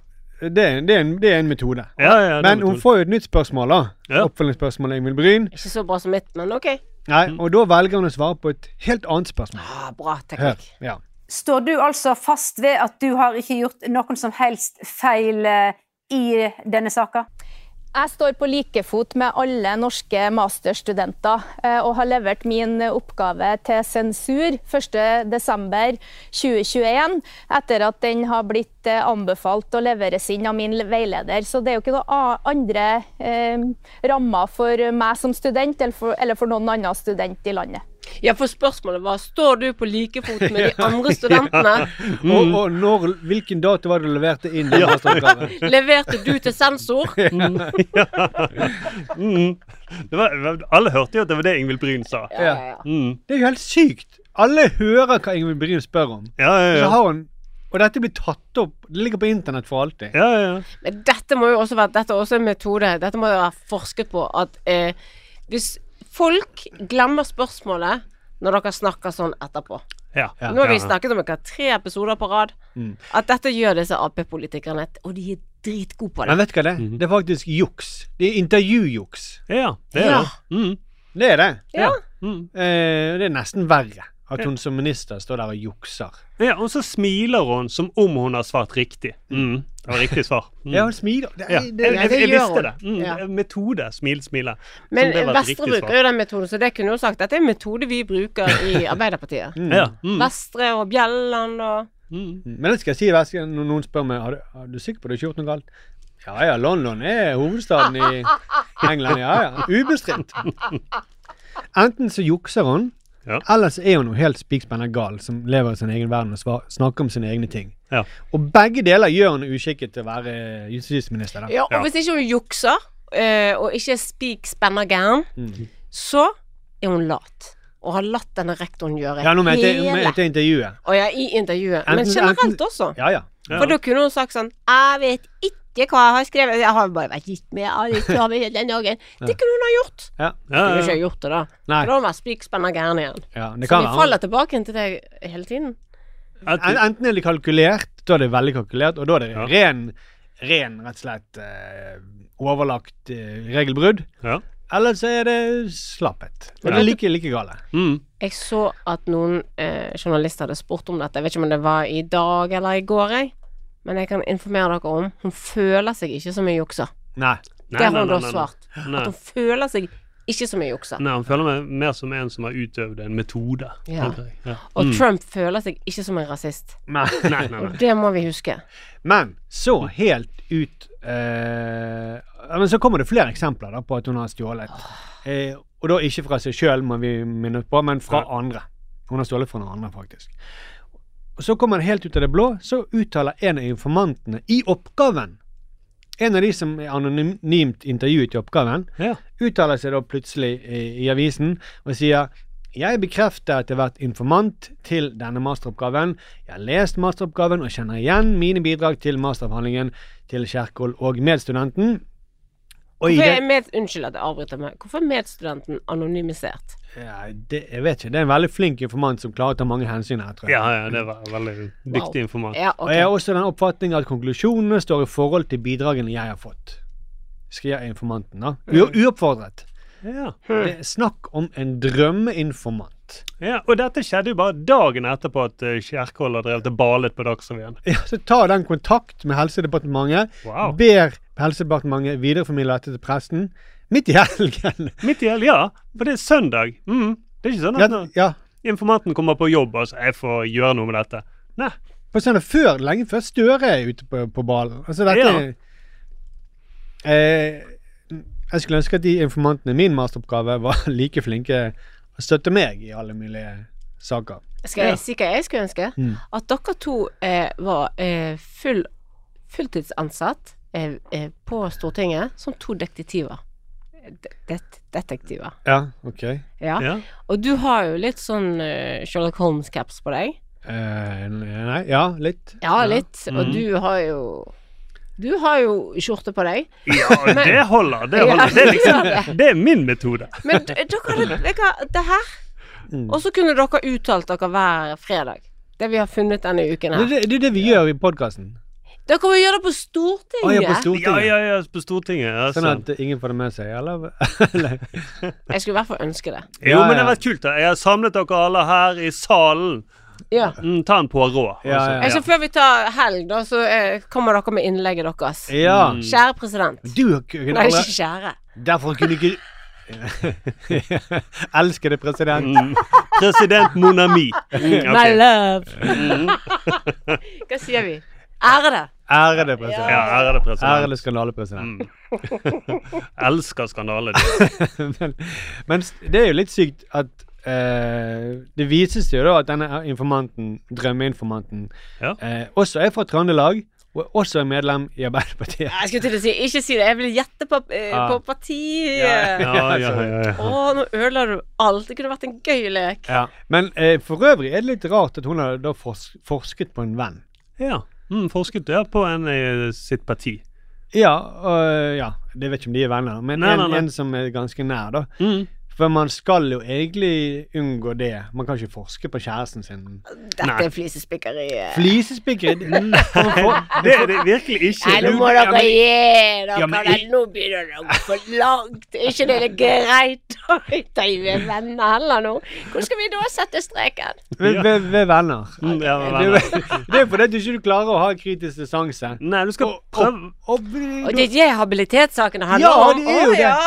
Speaker 2: det, er, det, er en, det er en metode.
Speaker 3: Ja, ja, det er
Speaker 2: Men hun
Speaker 3: metoden.
Speaker 2: får jo et nytt spørsmål, da.
Speaker 3: Ja.
Speaker 2: Oppfølgingsspørsmål av Ingvild Bryn.
Speaker 4: Ikke så bra som mitt, men OK.
Speaker 2: Nei,
Speaker 3: Mm.
Speaker 2: og da velger hun å svare på et helt annet spørsmål.
Speaker 4: Ah, bra
Speaker 2: Hør.
Speaker 4: teknikk.
Speaker 2: Ja.
Speaker 6: Står du altså fast ved at du har ikke gjort noen som helst feil eh, i denne saka?
Speaker 5: Jeg står på likefot med alle norske masterstudenter eh, og har levert min oppgave til sensur 1.12.2021, etter at den har blitt eh, anbefalt å leveres inn av min veileder. Så det er jo ikke noen a- andre eh, rammer for meg som student eller for, eller for noen annen student i landet.
Speaker 4: Ja, for spørsmålet var står du på like fot med de andre studentene.
Speaker 3: Mm.
Speaker 2: Og, og når, hvilken dato var det du leverte inn den masteroppgaven?
Speaker 4: Leverte du til sensor?
Speaker 3: Mm. Det var, alle hørte jo at det var det Ingvild Bryn sa.
Speaker 4: Ja, ja, ja.
Speaker 3: Mm.
Speaker 2: Det er jo helt sykt! Alle hører hva Ingvild Bryn spør om.
Speaker 3: Ja, ja,
Speaker 2: Så
Speaker 3: ja.
Speaker 2: har hun Og dette blir tatt opp. Det ligger på internett for alltid.
Speaker 3: ja, ja, ja.
Speaker 4: Men dette må jo også være Dette er også en metode. Dette må jo være forsket på at eh, hvis folk glemmer spørsmålet når dere snakker sånn etterpå
Speaker 3: ja.
Speaker 4: Nå har vi
Speaker 3: ja. Mm.
Speaker 4: snakket om det, hva, tre episoder på rad. At dette gjør disse Ap-politikerne, og de er dritgode på det.
Speaker 2: Men vet du hva det er?
Speaker 3: Mhm.
Speaker 2: Det er faktisk juks. Det er intervjujuks.
Speaker 3: Ja, det er
Speaker 4: Ja.
Speaker 3: det. Mm.
Speaker 2: Det er det.
Speaker 4: Ja.
Speaker 3: Mm.
Speaker 2: Eh, det er nesten verre at hun som minister står der og jukser.
Speaker 3: ja. Og så smiler hun som om hun har svart riktig. Mm. Det var riktig svar. Mm.
Speaker 2: Ja, hun smiler. Det,
Speaker 3: Ja.
Speaker 2: er-
Speaker 3: Jeg,
Speaker 2: det,
Speaker 3: jeg, jeg
Speaker 4: gjør
Speaker 3: visste
Speaker 4: hun.
Speaker 3: det. Mm.
Speaker 4: Ja.
Speaker 3: Metode. Smil, smile. Som
Speaker 4: Men
Speaker 3: det var et
Speaker 4: Vestre
Speaker 3: riktig
Speaker 4: bruker
Speaker 3: svar.
Speaker 4: jo den metoden, så det kunne jo sagt dette er en metode vi bruker i Arbeiderpartiet.
Speaker 3: Ja. Mm.
Speaker 4: Vestre og Bjelland og
Speaker 3: Mm.
Speaker 2: Men det skal jeg si hver gang når noen spør meg har du, er du sikker på at du ikke har gjort noe galt. Ja ja, London er hovedstaden i England. Ja ja. Ubestridt. Enten så jukser hun,
Speaker 3: Ja.
Speaker 2: eller så er hun noe helt spikspenna gal som lever i sin egen verden og svar, snakker om sine egne ting.
Speaker 3: Ja.
Speaker 2: Og begge deler gjør henne uskikket til å være justisminister. da.
Speaker 4: Ja, og
Speaker 3: Ja.
Speaker 4: hvis ikke hun jukser, eh, og ikke er spik spenner gæren,
Speaker 2: Mm.
Speaker 4: så er hun lat. Og har latt denne rektoren gjøre
Speaker 2: Ja, nå mente jeg-
Speaker 4: hele
Speaker 2: mente jeg intervjuet.
Speaker 4: Og ja, i intervjuet. Men
Speaker 2: Enten-
Speaker 4: generelt
Speaker 2: enten-
Speaker 4: også.
Speaker 2: Ja ja.
Speaker 3: Ja.
Speaker 4: For da kunne hun sagt sånn Jeg vet ikke hva jeg har skrevet. Jeg har bare vært gitt med alle sammen hele den dagen. Det kunne hun ha gjort.
Speaker 2: ja.
Speaker 3: Ja,
Speaker 4: Hun
Speaker 3: ja,
Speaker 4: kunne
Speaker 3: ja.
Speaker 4: ikke ha gjort det, da. For da
Speaker 2: Nei.
Speaker 4: hadde hun vært spik spenner gæren igjen.
Speaker 2: Ja, det
Speaker 4: Så
Speaker 2: kan
Speaker 4: vi
Speaker 2: være.
Speaker 4: faller tilbake til det hele tiden.
Speaker 3: At
Speaker 2: En- Enten er det kalkulert, da er det veldig kalkulert, og da er det
Speaker 3: Ja.
Speaker 2: ren, ren rett og slett eh, overlagt eh, regelbrudd.
Speaker 3: Ja.
Speaker 2: Eller så er det slapphet. Og det
Speaker 3: Ja.
Speaker 2: er like, like gale.
Speaker 3: Mm.
Speaker 4: Jeg så at noen eh, journalister hadde spurt om dette. Jeg vet ikke om det var i dag eller i går, jeg. Men jeg kan informere dere om hun føler seg ikke som en jukser.
Speaker 2: Nei.
Speaker 3: Nei,
Speaker 4: Det har
Speaker 3: nei,
Speaker 4: hun
Speaker 3: nei,
Speaker 4: da
Speaker 3: nei, nei.
Speaker 4: svart.
Speaker 3: Nei. Mm.
Speaker 4: At hun føler seg ikke som en jukser.
Speaker 3: Nei, han føler meg mer som en som har utøvd en metode.
Speaker 4: Ja.
Speaker 3: tenker jeg. Ja. Mm.
Speaker 4: Og Trump føler seg ikke som en rasist.
Speaker 2: Men,
Speaker 3: Nei, nei, nei.
Speaker 4: Det må vi huske.
Speaker 2: men så helt ut eh, Men så kommer det flere eksempler da, på at hun har stjålet. Eh, og da ikke fra seg sjøl, må vi minne på, men fra
Speaker 3: Ja.
Speaker 2: andre. Hun har stjålet fra noen andre, faktisk. Og så kommer det helt ut av det blå, så uttaler en av informantene i oppgaven En av de som er anonymt intervjuet i oppgaven,
Speaker 3: Ja.
Speaker 2: uttaler seg da plutselig i, i avisen og sier jeg bekrefter at jeg har vært informant til denne masteroppgaven. Jeg har lest masteroppgaven og kjenner igjen mine bidrag til masteravhandlingen til Kjerkol og medstudenten. Og i
Speaker 4: Hvorfor er
Speaker 2: det,
Speaker 4: med, unnskyld at jeg avbryter meg. Hvorfor er medstudenten anonymisert?
Speaker 2: ja, det Jeg vet ikke. Det er en veldig flink informant som klarer å ta mange hensyn her, tror jeg.
Speaker 3: ja, ja, det var veldig dyktig informat.
Speaker 4: Ja,
Speaker 2: Og jeg
Speaker 4: ok.
Speaker 2: har også den oppfatning at konklusjonene står i forhold til bidragene jeg har fått. skriver informanten. da. U uoppfordret.
Speaker 3: Ja.
Speaker 2: Det er snakk om en drømmeinformant.
Speaker 3: ja. Og dette skjedde jo bare dagen etterpå at eh, Kjerkol har drevet og balet på Dagsrevyen.
Speaker 2: Ja, så tar den kontakt med Helsedepartementet,
Speaker 3: Wow.
Speaker 2: ber Helsedepartementet videreformidle dette til pressen midt i helgen.
Speaker 3: Midt i helga, ja. For det er søndag. Mm. Det er ikke sånn
Speaker 2: Ja,
Speaker 3: at
Speaker 2: ja.
Speaker 3: informanten kommer på jobb og sier 'jeg får gjøre noe med dette'. Nei.
Speaker 2: På søndag før, lenge før Støre er ute på, på ballen. Altså dette
Speaker 3: Ja.
Speaker 2: eh, Jeg skulle ønske at de informantene i min masteroppgave var like flinke å støtte meg i alle mulige saker.
Speaker 4: Skal jeg si hva jeg skulle ønske?
Speaker 3: Mm.
Speaker 4: At dere to eh, var eh, full, fulltidsansatt eh, eh, på Stortinget som to detektiver. De det detektiver.
Speaker 2: Ja, OK.
Speaker 4: Ja.
Speaker 3: Ja.
Speaker 4: Og du har jo litt sånn eh, Sherlock Holmes-caps på deg.
Speaker 2: Eh, nei, ja, litt.
Speaker 4: Ja, litt. Og
Speaker 3: Mm.
Speaker 4: du har jo Du har jo skjorte på deg.
Speaker 3: Ja, det holder. Det, holder. Det, er
Speaker 4: Ja, det gjør
Speaker 3: liksom, det er min metode.
Speaker 4: Men d- dere hadde vet du hva, det her.
Speaker 2: Mm.
Speaker 4: Og så kunne dere uttalt dere hver fredag. Det vi har funnet denne uken
Speaker 2: Det
Speaker 4: her.
Speaker 2: det er det, vi gjør i podkasten.
Speaker 4: Dere må gjøre det på
Speaker 2: Å, jeg er på
Speaker 3: Ja,
Speaker 4: Stortinget.
Speaker 2: Stortinget.
Speaker 3: ja, ja, på Stortinget. Ja,
Speaker 2: Sånn
Speaker 3: sant.
Speaker 2: at ingen får det med seg, eller?
Speaker 4: Jeg skulle i hvert fall ønske det.
Speaker 3: Jo, men
Speaker 2: Ja,
Speaker 3: det har
Speaker 2: ja.
Speaker 3: vært kult. da. Jeg har samlet dere alle her i salen.
Speaker 4: Ja.
Speaker 3: Mm, ta en Poirot.
Speaker 2: Ja, ja, ja.
Speaker 4: Altså, før vi tar helg, da, så eh, kommer dere med innlegget deres.
Speaker 2: Ja.
Speaker 4: Kjære president.
Speaker 2: Du kunne
Speaker 4: Nei, ikke
Speaker 2: aldri
Speaker 4: kjære.
Speaker 2: Derfor kunne ikke Elskede president.
Speaker 3: Mm. President Monami. Mm, ok.
Speaker 4: My love. Hva sier vi? Ærede.
Speaker 2: Ærede president.
Speaker 3: Ja, ærede president.
Speaker 2: Ærede skandalepresident.
Speaker 3: Elsker skandale. du.
Speaker 2: men, men s- det er jo litt sykt at eh, Det vises jo da at denne informanten, drømmeinformanten,
Speaker 3: Ja.
Speaker 2: eh, også er fra Trøndelag, og også er medlem i Arbeiderpartiet.
Speaker 4: Jeg skulle til å si ikke si det. Jeg vil gjette på, eh,
Speaker 2: Ah.
Speaker 4: på parti.
Speaker 2: Ja.
Speaker 3: Ja, ja, ja,
Speaker 4: Å,
Speaker 3: ja.
Speaker 4: nå ødela du alt. Det kunne vært en gøy lek.
Speaker 2: Ja. Men eh, for øvrig er det litt rart at hun har da fors forsket på en venn.
Speaker 3: ja. Mm, forsket ja, på en i sitt parti.
Speaker 2: Ja, og, ja, det vet ikke om de er venner, men
Speaker 3: Nei,
Speaker 2: en,
Speaker 3: nei, nei.
Speaker 2: en som er ganske nær, da.
Speaker 3: Mm.
Speaker 2: For man skal jo egentlig unngå det. Man kan ikke forske på kjæresten sin.
Speaker 4: Dette
Speaker 3: Nei.
Speaker 4: er flisespikkeri.
Speaker 2: Flisespikker
Speaker 3: Det er det virkelig ikke.
Speaker 4: Nei, nå må
Speaker 2: Ja,
Speaker 4: dere
Speaker 2: men-
Speaker 4: gi dere.
Speaker 2: Ja, men-
Speaker 4: den. Nå begynner det å gå for langt. Er ikke det greit å intervjue venner heller nå? Hvor skal vi da sette streken?
Speaker 2: ved, ved, ved venner.
Speaker 3: Mm, ja, men
Speaker 2: Det er
Speaker 3: venner.
Speaker 2: jo- det er fordi du ikke klarer å ha kritisk distanse.
Speaker 3: Nei, du skal
Speaker 2: Og-
Speaker 3: prøve
Speaker 2: og- og-
Speaker 4: Og det er det habilitetssakene handler
Speaker 2: Ja,
Speaker 4: om.
Speaker 2: det er jo
Speaker 4: Å,
Speaker 2: det.
Speaker 4: ja.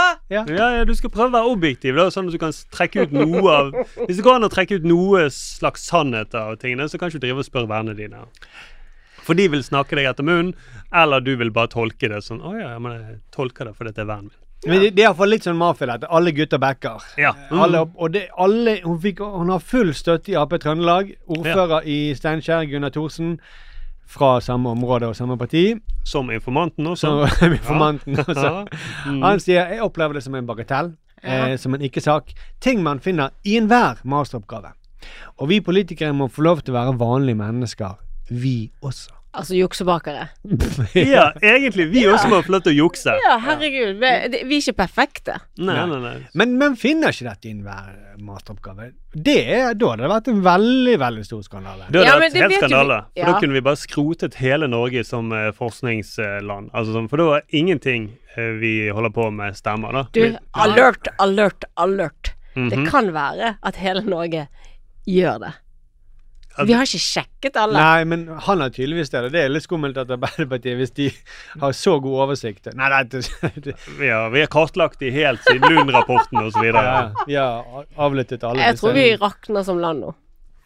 Speaker 3: Ja, ja, du skal prøve å være objektiv, da, sånn at du kan trekke ut noe av Hvis det går an å trekke ut noe slags sannhet av tingene, så kan ikke du drive og spørre vennene dine. For de vil snakke deg etter munnen, eller du vil bare tolke det sånn Å ja, ja, men jeg tolker det fordi det er vennen min.
Speaker 2: Men det, det er iallfall litt sånn mafia, dette. Alle gutter backer.
Speaker 3: Ja. Mm.
Speaker 2: Alle, opp- og det, alle, hun, fikk, hun har full støtte i Ap Trøndelag. Ordfører i Steinkjer, Gunnar Thorsen, fra samme område og samme parti.
Speaker 3: Som informanten også.
Speaker 2: Så informanten
Speaker 3: Ja.
Speaker 2: også. Han sier jeg opplever det som en bagatell, eh, som en ikke-sak. Ting man finner i enhver masteroppgave. Og vi politikere må få lov til å være vanlige mennesker, vi også.
Speaker 4: Altså juksebakere.
Speaker 3: Ja, egentlig. Vi også må få lov til å jukse.
Speaker 4: Ja, herregud. Vi, det, vi er ikke perfekte.
Speaker 3: Nei, nei, nei.
Speaker 2: Men man finner ikke dette i enhver masteroppgave. Det er, da hadde det vært en veldig, veldig stor skandale.
Speaker 3: Da hadde det
Speaker 4: Ja, men
Speaker 3: vært
Speaker 4: det
Speaker 3: helt
Speaker 4: vet jo vi-
Speaker 3: skandale. For
Speaker 4: Ja.
Speaker 3: da kunne vi bare skrotet hele Norge som eh, forskningsland. Altså, sånn, for da er ingenting eh, vi holder på med, stemmer, da.
Speaker 4: Du,
Speaker 3: Vi-
Speaker 4: alert, alert, alert.
Speaker 3: Mhm.
Speaker 4: Det kan være at hele Norge gjør det.
Speaker 3: Ja,
Speaker 4: Vi har ikke sjekket alle.
Speaker 2: Nei, men han har tydeligvis det. og Det er litt skummelt at Arbeiderpartiet, hvis de har så god oversikt Nei, det er ikke
Speaker 3: Vi har, vi har kartlagt de helt siden Lund-rapporten osv.
Speaker 2: Ja,
Speaker 3: videre.
Speaker 2: Vi har avlyttet alle
Speaker 4: Jeg tror vi
Speaker 2: disse-
Speaker 4: rakner som land nå.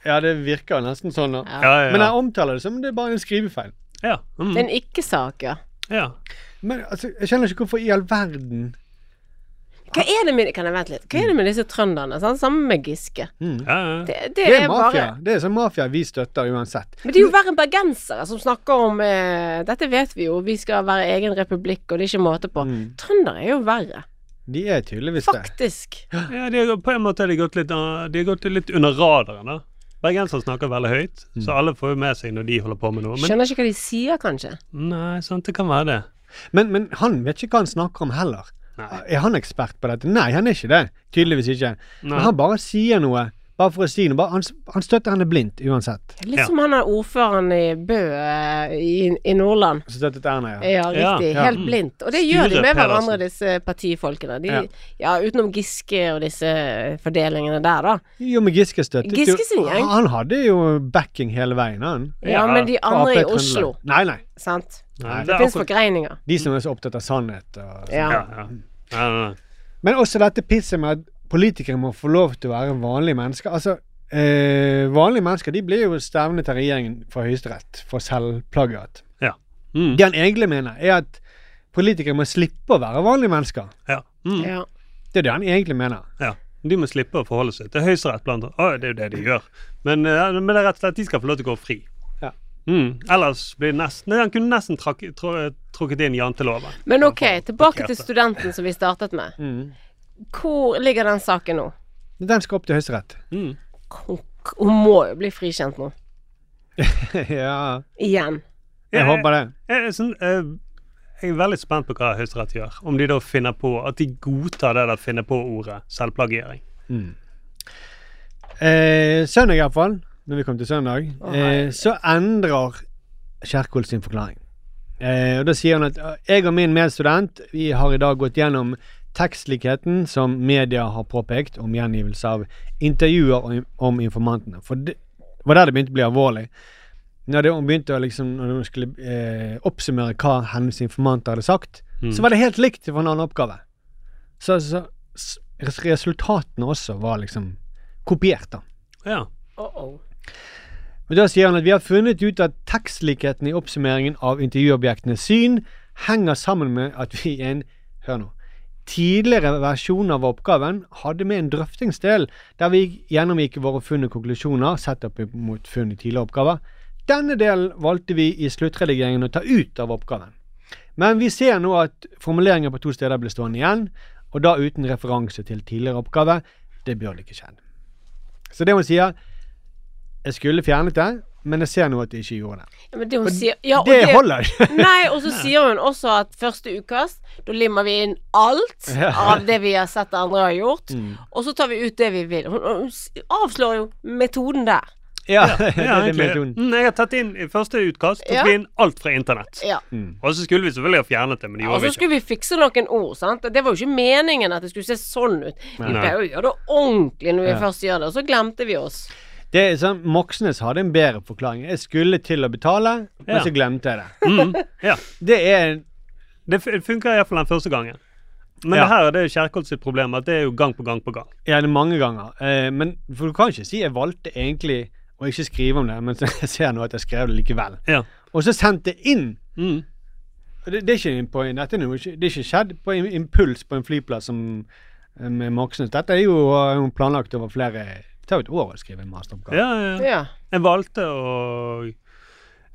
Speaker 2: Ja, det virker nesten sånn. da.
Speaker 3: Ja, ja,
Speaker 2: Men
Speaker 3: ja.
Speaker 2: jeg omtaler det som det er bare en skrivefeil.
Speaker 3: ja. Mm,
Speaker 4: Det er en ikke-sak, ja.
Speaker 3: ja.
Speaker 2: Men altså, jeg skjønner ikke hvorfor i all verden
Speaker 4: Hva er det med, kan jeg vente litt? Hva er det med disse trønderne? Sant? Sammen med Giske.
Speaker 3: Ja, ja.
Speaker 4: Det, det,
Speaker 2: Det er
Speaker 4: er
Speaker 2: mafia.
Speaker 4: bare
Speaker 2: Det er sånn mafia vi støtter uansett.
Speaker 4: Men det er jo verre enn bergensere som snakker om eh, Dette vet vi jo, vi skal være egen republikk, og det er ikke måte på. Trøndere er jo verre.
Speaker 2: De er tydeligvis Mm. det.
Speaker 4: Faktisk.
Speaker 3: ja de har, på en måte har de gått litt, uh, de har gått litt under radaren. da. Bergensere snakker veldig høyt,
Speaker 2: Mm.
Speaker 3: så alle får jo med seg når de holder på med noe. Men
Speaker 4: Skjønner ikke hva de sier, kanskje.
Speaker 3: nei, sant, det kan være det.
Speaker 2: Men, men han vet ikke hva han snakker om heller.
Speaker 3: Nei.
Speaker 2: Er han ekspert på dette? Nei, han er ikke det. Tydeligvis ikke.
Speaker 3: Nei.
Speaker 2: Men han bare sier noe. Bare for å si noe. Bare, han, han støtter henne blindt uansett.
Speaker 4: Litt
Speaker 3: Ja.
Speaker 4: som han er ordføreren i Bø eh, i, i Nordland.
Speaker 2: Så støttet Erna, ja.
Speaker 4: Ja,
Speaker 3: Ja,
Speaker 4: riktig.
Speaker 2: ja.
Speaker 4: Helt
Speaker 3: Mm.
Speaker 4: blindt. Og det gjør de
Speaker 3: Sture
Speaker 4: med
Speaker 3: Pedersen.
Speaker 4: hverandre, disse partifolkene. Eh, De,
Speaker 2: Ja.
Speaker 4: ja. utenom Giske og disse eh, fordelingene der, da.
Speaker 2: Jo, men Giske støttet jo
Speaker 4: Giske sin gjeng.
Speaker 2: Han hadde jo backing hele veien, han.
Speaker 4: Ja,
Speaker 3: Ja.
Speaker 4: men de
Speaker 2: Fra
Speaker 4: andre i
Speaker 2: Ap Trøndelag.
Speaker 4: Oslo,
Speaker 2: Nei, nei.
Speaker 4: sant.
Speaker 3: Nei,
Speaker 4: Det
Speaker 3: er altså-
Speaker 4: fins
Speaker 3: akkurat-
Speaker 4: forgreininger.
Speaker 2: De som er så opptatt av sannhet. Og sånn.
Speaker 4: Ja.
Speaker 3: Ja, ja. Nei, nei, nei.
Speaker 2: Men også dette pisset med at politikere må få lov til å være vanlige mennesker. Altså, eh, vanlige mennesker de blir jo stevnet av regjeringen for Høyesterett for selvplagiat.
Speaker 3: Ja. Mm.
Speaker 2: Det han egentlig mener, er at politikere må slippe å være vanlige mennesker.
Speaker 3: Ja. Mm.
Speaker 4: Ja.
Speaker 2: Det er det han egentlig mener.
Speaker 3: Ja. De må slippe å forholde seg til Høyesterett, blant annet. Å, det er jo det de gjør. Men, eh, men det er rett og slett de skal få lov til å gå fri.
Speaker 2: Ja.
Speaker 3: Mm. Ellers blir det nesten Nei, Han kunne nesten trakk, tro- trukket inn janteloven.
Speaker 4: Men OK,
Speaker 3: Ja, for-
Speaker 4: tilbake til
Speaker 3: parkerte.
Speaker 4: studenten som vi startet med.
Speaker 2: Mm.
Speaker 4: Hvor ligger den saken nå?
Speaker 2: Den skal opp til Høyesterett.
Speaker 3: Mm.
Speaker 4: Hun, hun må jo bli frikjent nå.
Speaker 2: ja, Eh,
Speaker 4: Igjen.
Speaker 2: jeg håper det.
Speaker 3: Jeg, jeg, synes, eh, jeg er veldig spent på hva Høyesterett gjør. Om de da finner på At de godtar det der finner på-ordet selvplagiering.
Speaker 2: Eh, søndag iallfall, når vi kom til søndag,
Speaker 4: Å,
Speaker 2: eh, så endrer Kjerkol sin forklaring. Eh, og Da sier han at «Eh, jeg og min medstudent vi har i dag gått gjennom tekstlikheten som media har påpekt om gjengivelse av intervjuer om, om informantene. For det var der det begynte å bli alvorlig. Når det- hun begynte å liksom, når hun skulle eh, oppsummere hva hennes informanter hadde sagt, så var det helt likt for en annen oppgave. Så, så s- resultatene også var liksom kopiert, da.
Speaker 3: Ja.
Speaker 4: Oh -oh.
Speaker 2: Men da sier han at vi har funnet ut at tekstlikheten i oppsummeringen av intervjuobjektenes syn henger sammen med at vi i en Hør nå. Tidligere versjon av oppgaven hadde med en drøftingsdel der vi gjennomgikk våre funn og konklusjoner sett opp mot funn i tidligere oppgaver. Denne delen valgte vi i sluttredigeringen å ta ut av oppgaven. Men vi ser nå at formuleringer på to steder ble stående igjen, og da uten referanse til tidligere oppgave. Det bør det ikke skjedd. Så det hun sier, jeg skulle fjernet det, men jeg ser nå at jeg ikke gjorde det.
Speaker 4: Ja, men det hun sier ja, og
Speaker 2: det holder ikke!
Speaker 4: Nei, og så sier hun også at første utkast, da limmer vi inn alt av det vi har sett andre har gjort,
Speaker 2: Mm.
Speaker 4: og så tar vi ut det vi vil. Hun, hun s- avslår jo metoden der.
Speaker 2: ja, det
Speaker 3: Ja,
Speaker 2: er det
Speaker 3: egentlig.
Speaker 2: metoden.
Speaker 3: Mm, jeg har tatt inn i første utkast tok
Speaker 4: Ja.
Speaker 3: vi inn alt fra internett.
Speaker 4: Ja.
Speaker 2: Mm.
Speaker 3: Og så skulle vi selvfølgelig ha fjernet det, men det
Speaker 4: Og
Speaker 3: gjorde
Speaker 4: så
Speaker 3: vi ikke.
Speaker 4: skulle vi fikse noen ord, sant. Det var jo ikke meningen at det skulle se sånn ut. Vi
Speaker 3: Nei.
Speaker 4: pleier jo å gjøre det ordentlig når vi
Speaker 2: Ja.
Speaker 4: først gjør det, og så glemte vi oss.
Speaker 2: Det er sånn, Moxnes hadde en bedre forklaring. Jeg skulle til å betale, men
Speaker 3: Ja.
Speaker 2: så glemte jeg det.
Speaker 3: Mm, ja.
Speaker 2: Det er
Speaker 3: Det fun- funker iallfall den første gangen. Men
Speaker 2: Ja.
Speaker 3: det her er det Kjerkol sitt problem, at det er jo gang på gang på gang.
Speaker 2: ja, det er mange ganger. Eh, men For du kan ikke si jeg valgte egentlig å ikke skrive om det, men så jeg ser nå at jeg skrev det likevel.
Speaker 3: Ja.
Speaker 2: Og så sendte jeg inn.
Speaker 3: Mm.
Speaker 2: Og Det, det er ikke en på en, dette er noe, ikke- det er ikke skjedd på im- impuls på en flyplass som eh, med Moxnes. Dette er jo eh, hun planlagt over flere Det tar jo et år å skrive en masteroppgave.
Speaker 3: Ja, ja, ja.
Speaker 4: Ja.
Speaker 3: Jeg valgte å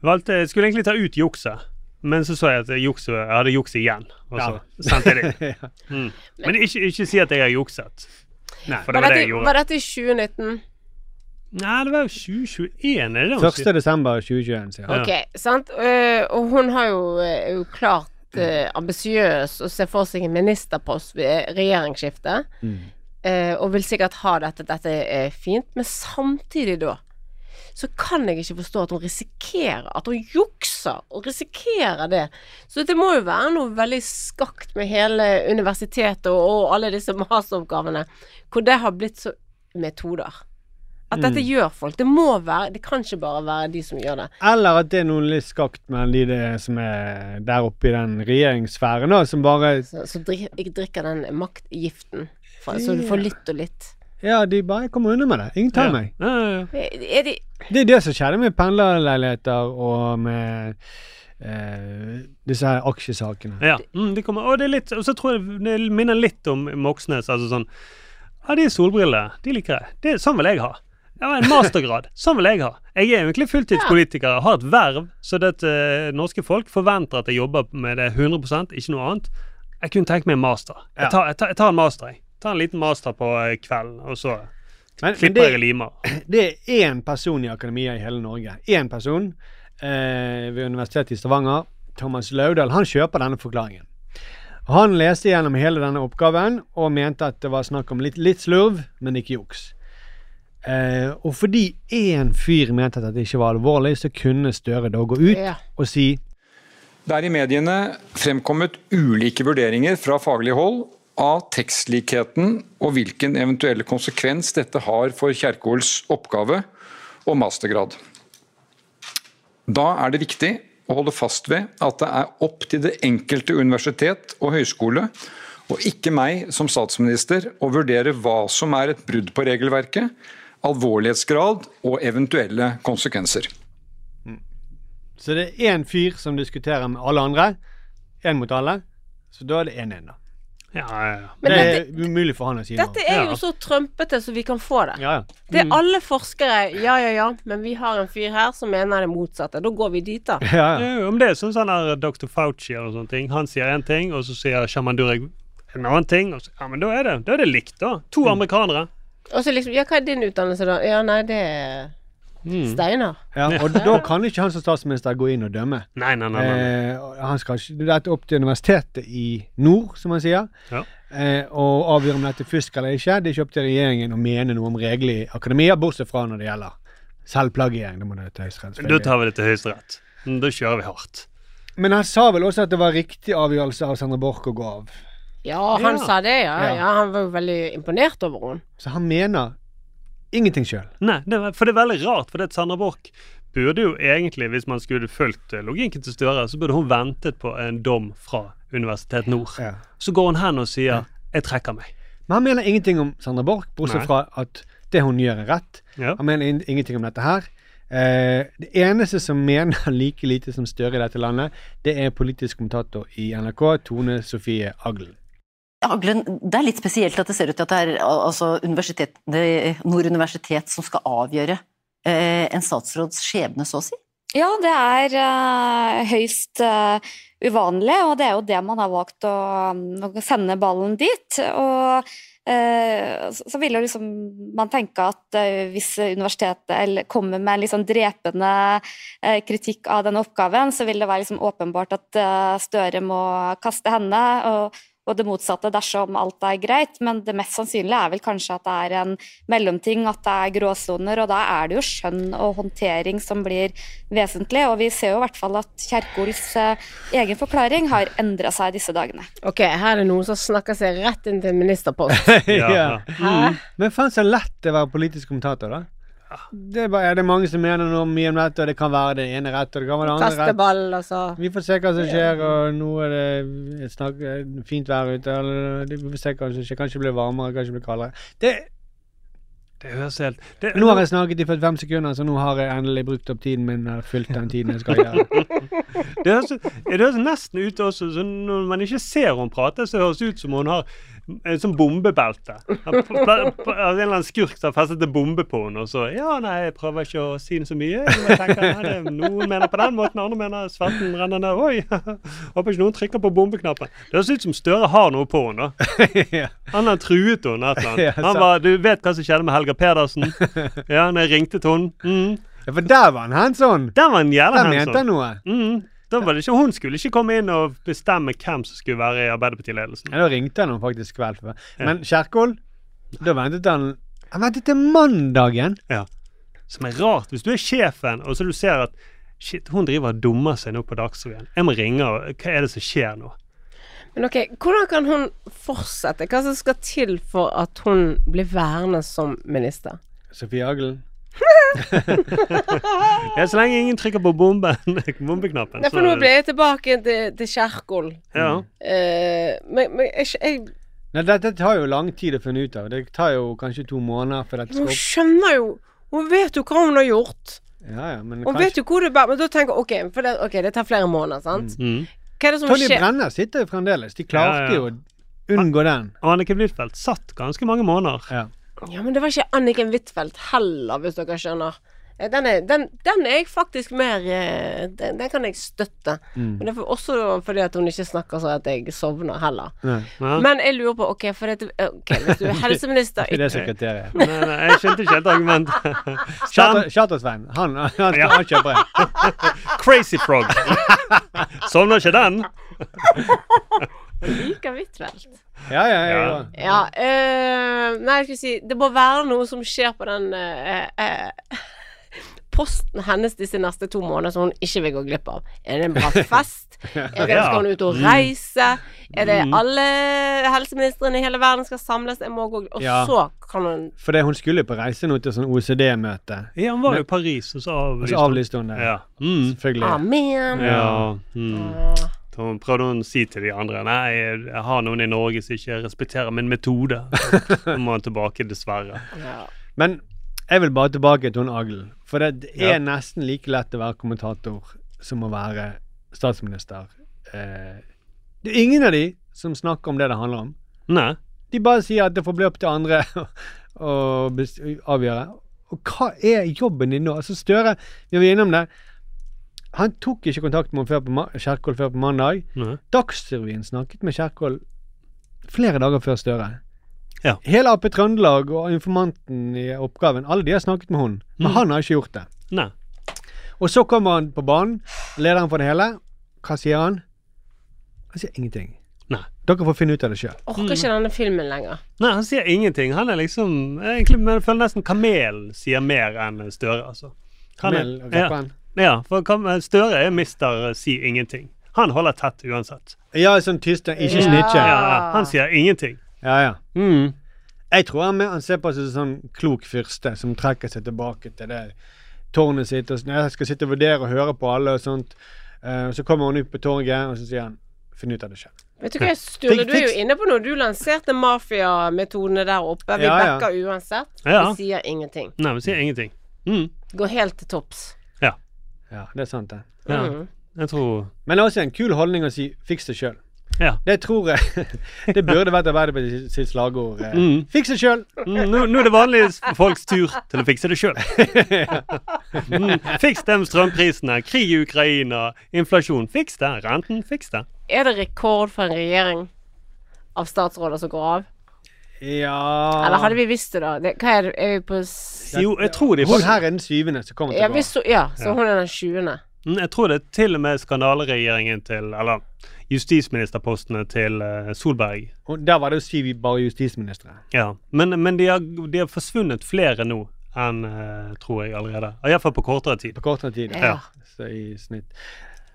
Speaker 3: valgte, Jeg skulle egentlig ta ut jukset, men så så jeg at jeg jukset, jeg hadde jukset igjen. Og så
Speaker 2: Ja.
Speaker 3: sendte jeg det. Mm. Men ikke, ikke si at jeg har jukset. Nei, for det var
Speaker 4: Var
Speaker 3: det jeg
Speaker 4: dette,
Speaker 3: gjorde.
Speaker 4: var dette i 2019?
Speaker 3: Nei, det var jo 2021, er det det hun
Speaker 2: 1.
Speaker 3: sier?
Speaker 2: desember 2021, sier han.
Speaker 3: Ja.
Speaker 4: Ok, sant? Eh, og hun har jo, er jo klart uh, ambisiøs og ser for seg en ministerpost ved regjeringsskiftet. Eh, og vil sikkert ha dette, dette er fint. Men samtidig da, så kan jeg ikke forstå at hun risikerer, at hun jukser og risikerer det. Så det må jo være noe veldig skakt med hele universitetet og, og alle disse masteroppgavene, hvor det har blitt så metoder. At dette gjør folk. Det må være, det kan ikke bare være de som gjør det.
Speaker 2: Eller at det er noen litt skakt med de det som er der oppe i den regjeringssfæren, da, som bare
Speaker 4: Så, så dri jeg drikker den maktgiften, fra, så du får litt og litt.
Speaker 2: Ja, de bare kommer unna med det. Ingen tar meg.
Speaker 3: Ja, ja, ja.
Speaker 4: Er de
Speaker 2: Det er det som skjedde med pendlerleiligheter og med eh, disse her aksjesakene.
Speaker 3: Ja, mm, de kommer, og, det er litt, og så tror jeg det minner litt om Moxnes. Altså sånn Ja, de solbrillene, de liker jeg. Det, sånn vil jeg ha. Jeg har en mastergrad. sånn vil jeg ha. Jeg er egentlig fulltidspolitiker, har et verv, så det at, eh, norske folk forventer at jeg jobber med det 100 ikke noe annet. Jeg kunne tenkt meg en master.
Speaker 2: Ja.
Speaker 3: Jeg tar, jeg tar, jeg tar en master, jeg. Tar en liten master på eh, kvelden, og så
Speaker 2: Men, men
Speaker 3: klipper jeg
Speaker 2: det,
Speaker 3: limer.
Speaker 2: det er én person i akademia i hele Norge. Én person eh, ved Universitetet i Stavanger. Thomas Laudal. Han kjøper denne forklaringen. Han leste gjennom hele denne oppgaven og mente at det var snakk om litt, litt slurv, men ikke juks. Eh, og fordi én fyr mente at det ikke var alvorlig, så kunne Støre da gå ut
Speaker 4: Ja.
Speaker 2: og si
Speaker 7: Det er i mediene fremkommet ulike vurderinger fra faglig hold av tekstlikheten og hvilken eventuell konsekvens dette har for Kjerkols oppgave og mastergrad. Da er det viktig å holde fast ved at det er opp til det enkelte universitet og høyskole, og ikke meg som statsminister, å vurdere hva som er et brudd på regelverket, alvorlighetsgrad og eventuelle konsekvenser.
Speaker 2: Så det er én fyr som diskuterer med alle andre. Én mot alle. Så da er det 1-1, da.
Speaker 3: Ja, ja, ja.
Speaker 4: Men
Speaker 2: det er
Speaker 4: dette-
Speaker 2: umulig for han å si noe.
Speaker 4: Dette er
Speaker 3: Ja.
Speaker 4: jo så trumpete som vi kan få det.
Speaker 2: Ja, ja.
Speaker 4: Det er alle forskere Ja, ja, ja, men vi har en fyr her som mener det motsatte. Da går vi dit, da.
Speaker 2: ja, ja.
Speaker 3: Ja, Om det er sånn sånn der Dr. Fauci eller sånne ting. Han sier én ting, og så sier Shaman Durek en annen ting. Og så, ja, men da er det Da er det likt, da.
Speaker 2: Mm.
Speaker 3: To amerikanere.
Speaker 4: Og så liksom Ja, hva er din utdannelse, da? Ja, nei, det er Steinar.
Speaker 2: ja. Og da kan ikke han som statsminister gå inn og dømme.
Speaker 3: Nei, nei, nei. nei.
Speaker 2: Eh, og han skal ikke, dette er opp til universitetet i nord, som han sier.
Speaker 3: Ja.
Speaker 2: Eh, og avgjøre om dette er fusk eller ikke. Det er ikke opp til regjeringen å mene noe om reglene i akademia, bortsett fra når det gjelder selvplagiering. Det må det til Høyesterett,
Speaker 3: Da
Speaker 2: selvfølgelig.
Speaker 3: tar vi det til Høyesterett. Mm, Da kjører vi hardt.
Speaker 2: Men han sa vel også at det var riktig avgjørelse av Sandra Borch å gå av.
Speaker 4: Ja, han
Speaker 3: Ja.
Speaker 4: sa det, ja.
Speaker 2: Ja.
Speaker 4: ja. Han var jo veldig imponert over henne.
Speaker 2: Så han mener ingenting sjøl.
Speaker 3: Nei, det er, for det er veldig rart, for det at Sandra Borch burde jo egentlig, hvis man skulle fulgt eh, logikken til Støre, så burde hun ventet på en dom fra Universitet Nord.
Speaker 2: Ja.
Speaker 3: Så går hun hen og sier 'jeg trekker meg'.
Speaker 2: Men han mener ingenting om Sandra Borch, bortsett
Speaker 3: Nei.
Speaker 2: fra at det hun gjør, er rett.
Speaker 3: Ja.
Speaker 2: Han mener in ingenting om dette her. Eh, det eneste som mener like lite som Støre i dette landet, det er politisk kommentator i NRK, Tone Sofie Aglen.
Speaker 8: Aglen, det er litt spesielt at det ser ut til at det er al- altså, universitet, det, Nord universitet som skal avgjøre eh, en statsråds skjebne, så å si.
Speaker 9: Ja, det er eh, høyst eh, uvanlig, og det er jo det man har valgt å, mm, å sende ballen dit. Og eh, så, så vil jo liksom man tenke at eh, hvis universitetet eller kommer med en litt sånn drepende eh, kritikk av denne oppgaven, så vil det være liksom åpenbart at eh, Støre må kaste henne. og og det motsatte dersom alt er greit, men det mest sannsynlige er vel kanskje at det er en mellomting, at det er gråsoner, og da er det jo skjønn og håndtering som blir vesentlig. Og vi ser jo i hvert fall at Kjerkols eh, egen forklaring har endra seg disse dagene.
Speaker 4: Ok, her er det noen som snakker seg rett inn til en ministerpost.
Speaker 3: Ja, ja.
Speaker 4: Hæ?
Speaker 2: Men faen så lett det er å være politisk kommentator, da. Det er, bare, er det mange som mener noe mye om dette, og det kan være det ene rett, og det kan være det andre
Speaker 4: Kaste
Speaker 2: rett.
Speaker 4: ball, altså.
Speaker 2: Vi får se hva som skjer, og nå er det snakk, fint vær ute. Eller, vi får se hva som skjer. Kanskje det blir varmere, kanskje det blir kaldere. Det,
Speaker 3: Det høres helt det,
Speaker 2: Nå har jeg snakket i 45 sekunder, så nå har jeg endelig brukt opp tiden min. Eller fylt den tiden jeg skal gjøre.
Speaker 3: Det høres, det høres nesten ut også, så Når man ikke ser hun prate, så høres det ut som hun har en sånn bombebelte. Av pla- pla- av En eller annen skurk som har festet en bombe på henne, og så Ja, nei, jeg prøver ikke å si så mye. men Jeg tenker, nei, det, noen mener på den måten, andre mener svetten renner ned. Oi! Håper ikke noen trykker på bombeknappen. Det høres ut som Støre har noe på henne. da.
Speaker 2: ja.
Speaker 3: Han har truet henne et eller
Speaker 2: Ja,
Speaker 3: annet. Han
Speaker 2: sant.
Speaker 3: var, du vet hva som skjedde med Helga Pedersen? Ja, når jeg ringte til henne. Mm.
Speaker 2: Ja, For der var han hands on!
Speaker 3: Den var en jævla
Speaker 2: Der
Speaker 3: hands-on.
Speaker 2: mente han noe.
Speaker 3: Mm, da var det ikke, hun skulle ikke komme inn og bestemme hvem som skulle være i Arbeiderpartiledelsen.
Speaker 2: Ja, da ringte han ham faktisk kveld før. Men Kjerkol, da ventet han Han ventet til mandagen!
Speaker 3: Som er rart, hvis du er sjefen, og så du ser at Shit, hun driver og dummer seg nå på Dagsrevyen. Jeg må ringe, og hva er det som skjer nå?
Speaker 4: Men ok, hvordan kan hun fortsette? Hva som skal til for at hun blir værende som minister?
Speaker 2: Sofie Aglen.
Speaker 3: Ja, så lenge ingen trykker på bomben, bombeknappen.
Speaker 4: Nei,
Speaker 3: så-
Speaker 4: for nå ble jeg tilbake til, til Kjerkol.
Speaker 3: Altså- ja.
Speaker 4: Eh, men men jeg, jeg,
Speaker 2: Nei, dette tar jo lang tid å finne ut av. Det tar jo kanskje to måneder før dette
Speaker 4: hun
Speaker 2: skal opp.
Speaker 4: skjønner jo Hun vet jo hva hun har gjort.
Speaker 2: Ja, ja, men
Speaker 4: Hun vet
Speaker 2: kanskje
Speaker 4: jo hvor det bærer. Men da tenker jeg OK, for det, ok, det tar flere måneder, sant?
Speaker 3: Mm.
Speaker 4: Hva er det som
Speaker 2: Tonje
Speaker 4: skjer?
Speaker 2: Brenner sitter jo fremdeles. De
Speaker 3: Ja,
Speaker 2: klarte
Speaker 3: ja.
Speaker 2: jo å unngå den.
Speaker 3: Og Annike Blitfeldt satt ganske mange måneder.
Speaker 2: Ja.
Speaker 4: Ja, men det var ikke Anniken Huitfeldt heller, hvis dere skjønner. Eh, Den er, den, den er jeg faktisk mer eh, Den, den kan jeg støtte. Men det er for, også fordi at hun ikke snakker sånn at jeg sovner heller.
Speaker 2: Nei.
Speaker 3: Ja.
Speaker 4: Men jeg lurer på OK, for dette, ok, hvis du er helseminister
Speaker 2: Det er sekretæret.
Speaker 3: Nei, nei, eh, jeg skjønte ikke helt argumentet. Skjerm-
Speaker 2: Charter-Svein. Han, han,
Speaker 3: Ja.
Speaker 2: han kjøper en.
Speaker 3: Crazy Frog. Sovner ikke den?
Speaker 4: Jeg liker Huitfeldt.
Speaker 2: Ja, ja, ja. ja.
Speaker 4: Ja, eh, nei, jeg skulle si Det må være noe som skjer på den eh, eh, posten hennes disse neste to månedene som hun ikke vil gå glipp av. Er det en bra fest? Er det, skal hun ut
Speaker 3: Mm.
Speaker 4: og reise? Er det
Speaker 2: Mm.
Speaker 4: alle helseministrene i hele verden skal samles? Jeg må gå glipp Og
Speaker 2: Ja.
Speaker 4: så kan hun
Speaker 2: Fordi hun skulle på reise nå til sånn OECD-møte.
Speaker 3: Ja, hun var jo i Paris, og så
Speaker 2: Og
Speaker 3: avlyste
Speaker 2: så avlyste hun det. Mm,
Speaker 3: Ja.
Speaker 2: Selvfølgelig.
Speaker 4: Amen.
Speaker 3: Ja. Mm. Så hun prøvde hun å si til de andre Nei, jeg har noen i Norge som ikke respekterer min metode. Så må hun tilbake, dessverre.
Speaker 2: Men jeg vil bare tilbake til hun Aglen. For det, det er
Speaker 3: Ja.
Speaker 2: nesten like lett å være kommentator som å være statsminister. Eh, det er ingen av de som snakker om det det handler om.
Speaker 3: Nei.
Speaker 2: De bare sier at det får bli opp til andre å bes- avgjøre. Og hva er jobben din nå? Altså Støre, vi var innom det. Han tok ikke kontakt med henne før på ma- Kjerkol før på mandag.
Speaker 3: Nei.
Speaker 2: Dagsrevyen snakket med Kjerkol flere dager før Støre.
Speaker 3: Ja.
Speaker 2: Hele Ap Trøndelag og informanten i oppgaven, alle de har snakket med hun.
Speaker 3: Mm.
Speaker 2: Men han har ikke gjort det.
Speaker 3: Nei.
Speaker 2: Og så kommer han på banen, lederen for det hele. Hva sier han? Han sier ingenting.
Speaker 3: Nei.
Speaker 2: Dere får finne ut av det sjøl.
Speaker 4: Orker ikke
Speaker 3: Mm.
Speaker 4: denne filmen lenger.
Speaker 3: Nei, han sier ingenting. Han er liksom egentlig, men Jeg føler nesten Kamelen sier mer enn Støre, altså. Han er-
Speaker 2: Kamelen og rapperen.
Speaker 3: Ja, ja, for Kam Støre er mister eh, si ingenting. Han holder tett uansett.
Speaker 2: Ja, sånn tyst, ikke snitche.
Speaker 3: Ja, ja, han sier ingenting.
Speaker 2: Ja, ja.
Speaker 3: Mm.
Speaker 2: Jeg tror han, han ser på seg som en sånn klok fyrste som trekker seg tilbake til det tårnet sitt. Og sånn, jeg skal sitte og vurdere og høre på alle og sånt. Eh, og så kommer hun ut på torget, og så sier han Finn ut av det selv.
Speaker 4: Vet du hva, Sturle,
Speaker 2: Fikk-
Speaker 4: du er jo
Speaker 2: fikk-
Speaker 4: inne på noe. Du lanserte mafiametodene der oppe. Vi
Speaker 3: Ja, ja.
Speaker 4: backer uansett.
Speaker 3: Ja.
Speaker 4: Vi sier ingenting.
Speaker 3: Nei, men sier ingenting.
Speaker 4: Går helt til topps.
Speaker 2: Ja, det er sant, det.
Speaker 3: Ja.
Speaker 4: Mm.
Speaker 3: Jeg tror
Speaker 2: Men det er også en kul holdning å si 'fiks det sjøl'.
Speaker 3: Ja.
Speaker 2: Det tror jeg Det burde vært Arbeiderpartiet sitt- sitt slagord. eh.
Speaker 3: Mm.
Speaker 2: Fiks det sjøl!
Speaker 3: Mm, nå, nå er det vanlige s- folks tur til å fikse det sjøl. Mm, fiks de strømprisene, krig i Ukraina, inflasjon. Fiks det. Renten, fiks det.
Speaker 4: Er det rekord for en regjering av statsråder som går av?
Speaker 2: Ja
Speaker 4: Eller hadde vi visst det, da? Det, hva er det? Er vi på s-
Speaker 3: Jo, jeg tror de
Speaker 2: Hun her er den syvende som kommer
Speaker 4: ja,
Speaker 2: tilbake.
Speaker 4: vi så, ja, så
Speaker 3: Ja.
Speaker 4: hun er den 20.
Speaker 3: Mm, Jeg tror det er til og med skandaleregjeringen til Eller justisministerpostene til eh, Solberg.
Speaker 2: Og Der var det jo syv bare justisministre.
Speaker 3: Ja. Men, men de, har, de har forsvunnet flere nå enn eh, tror jeg allerede. Iallfall på kortere tid.
Speaker 2: På kortere tid.
Speaker 3: Ja. Ja.
Speaker 2: Så i snitt.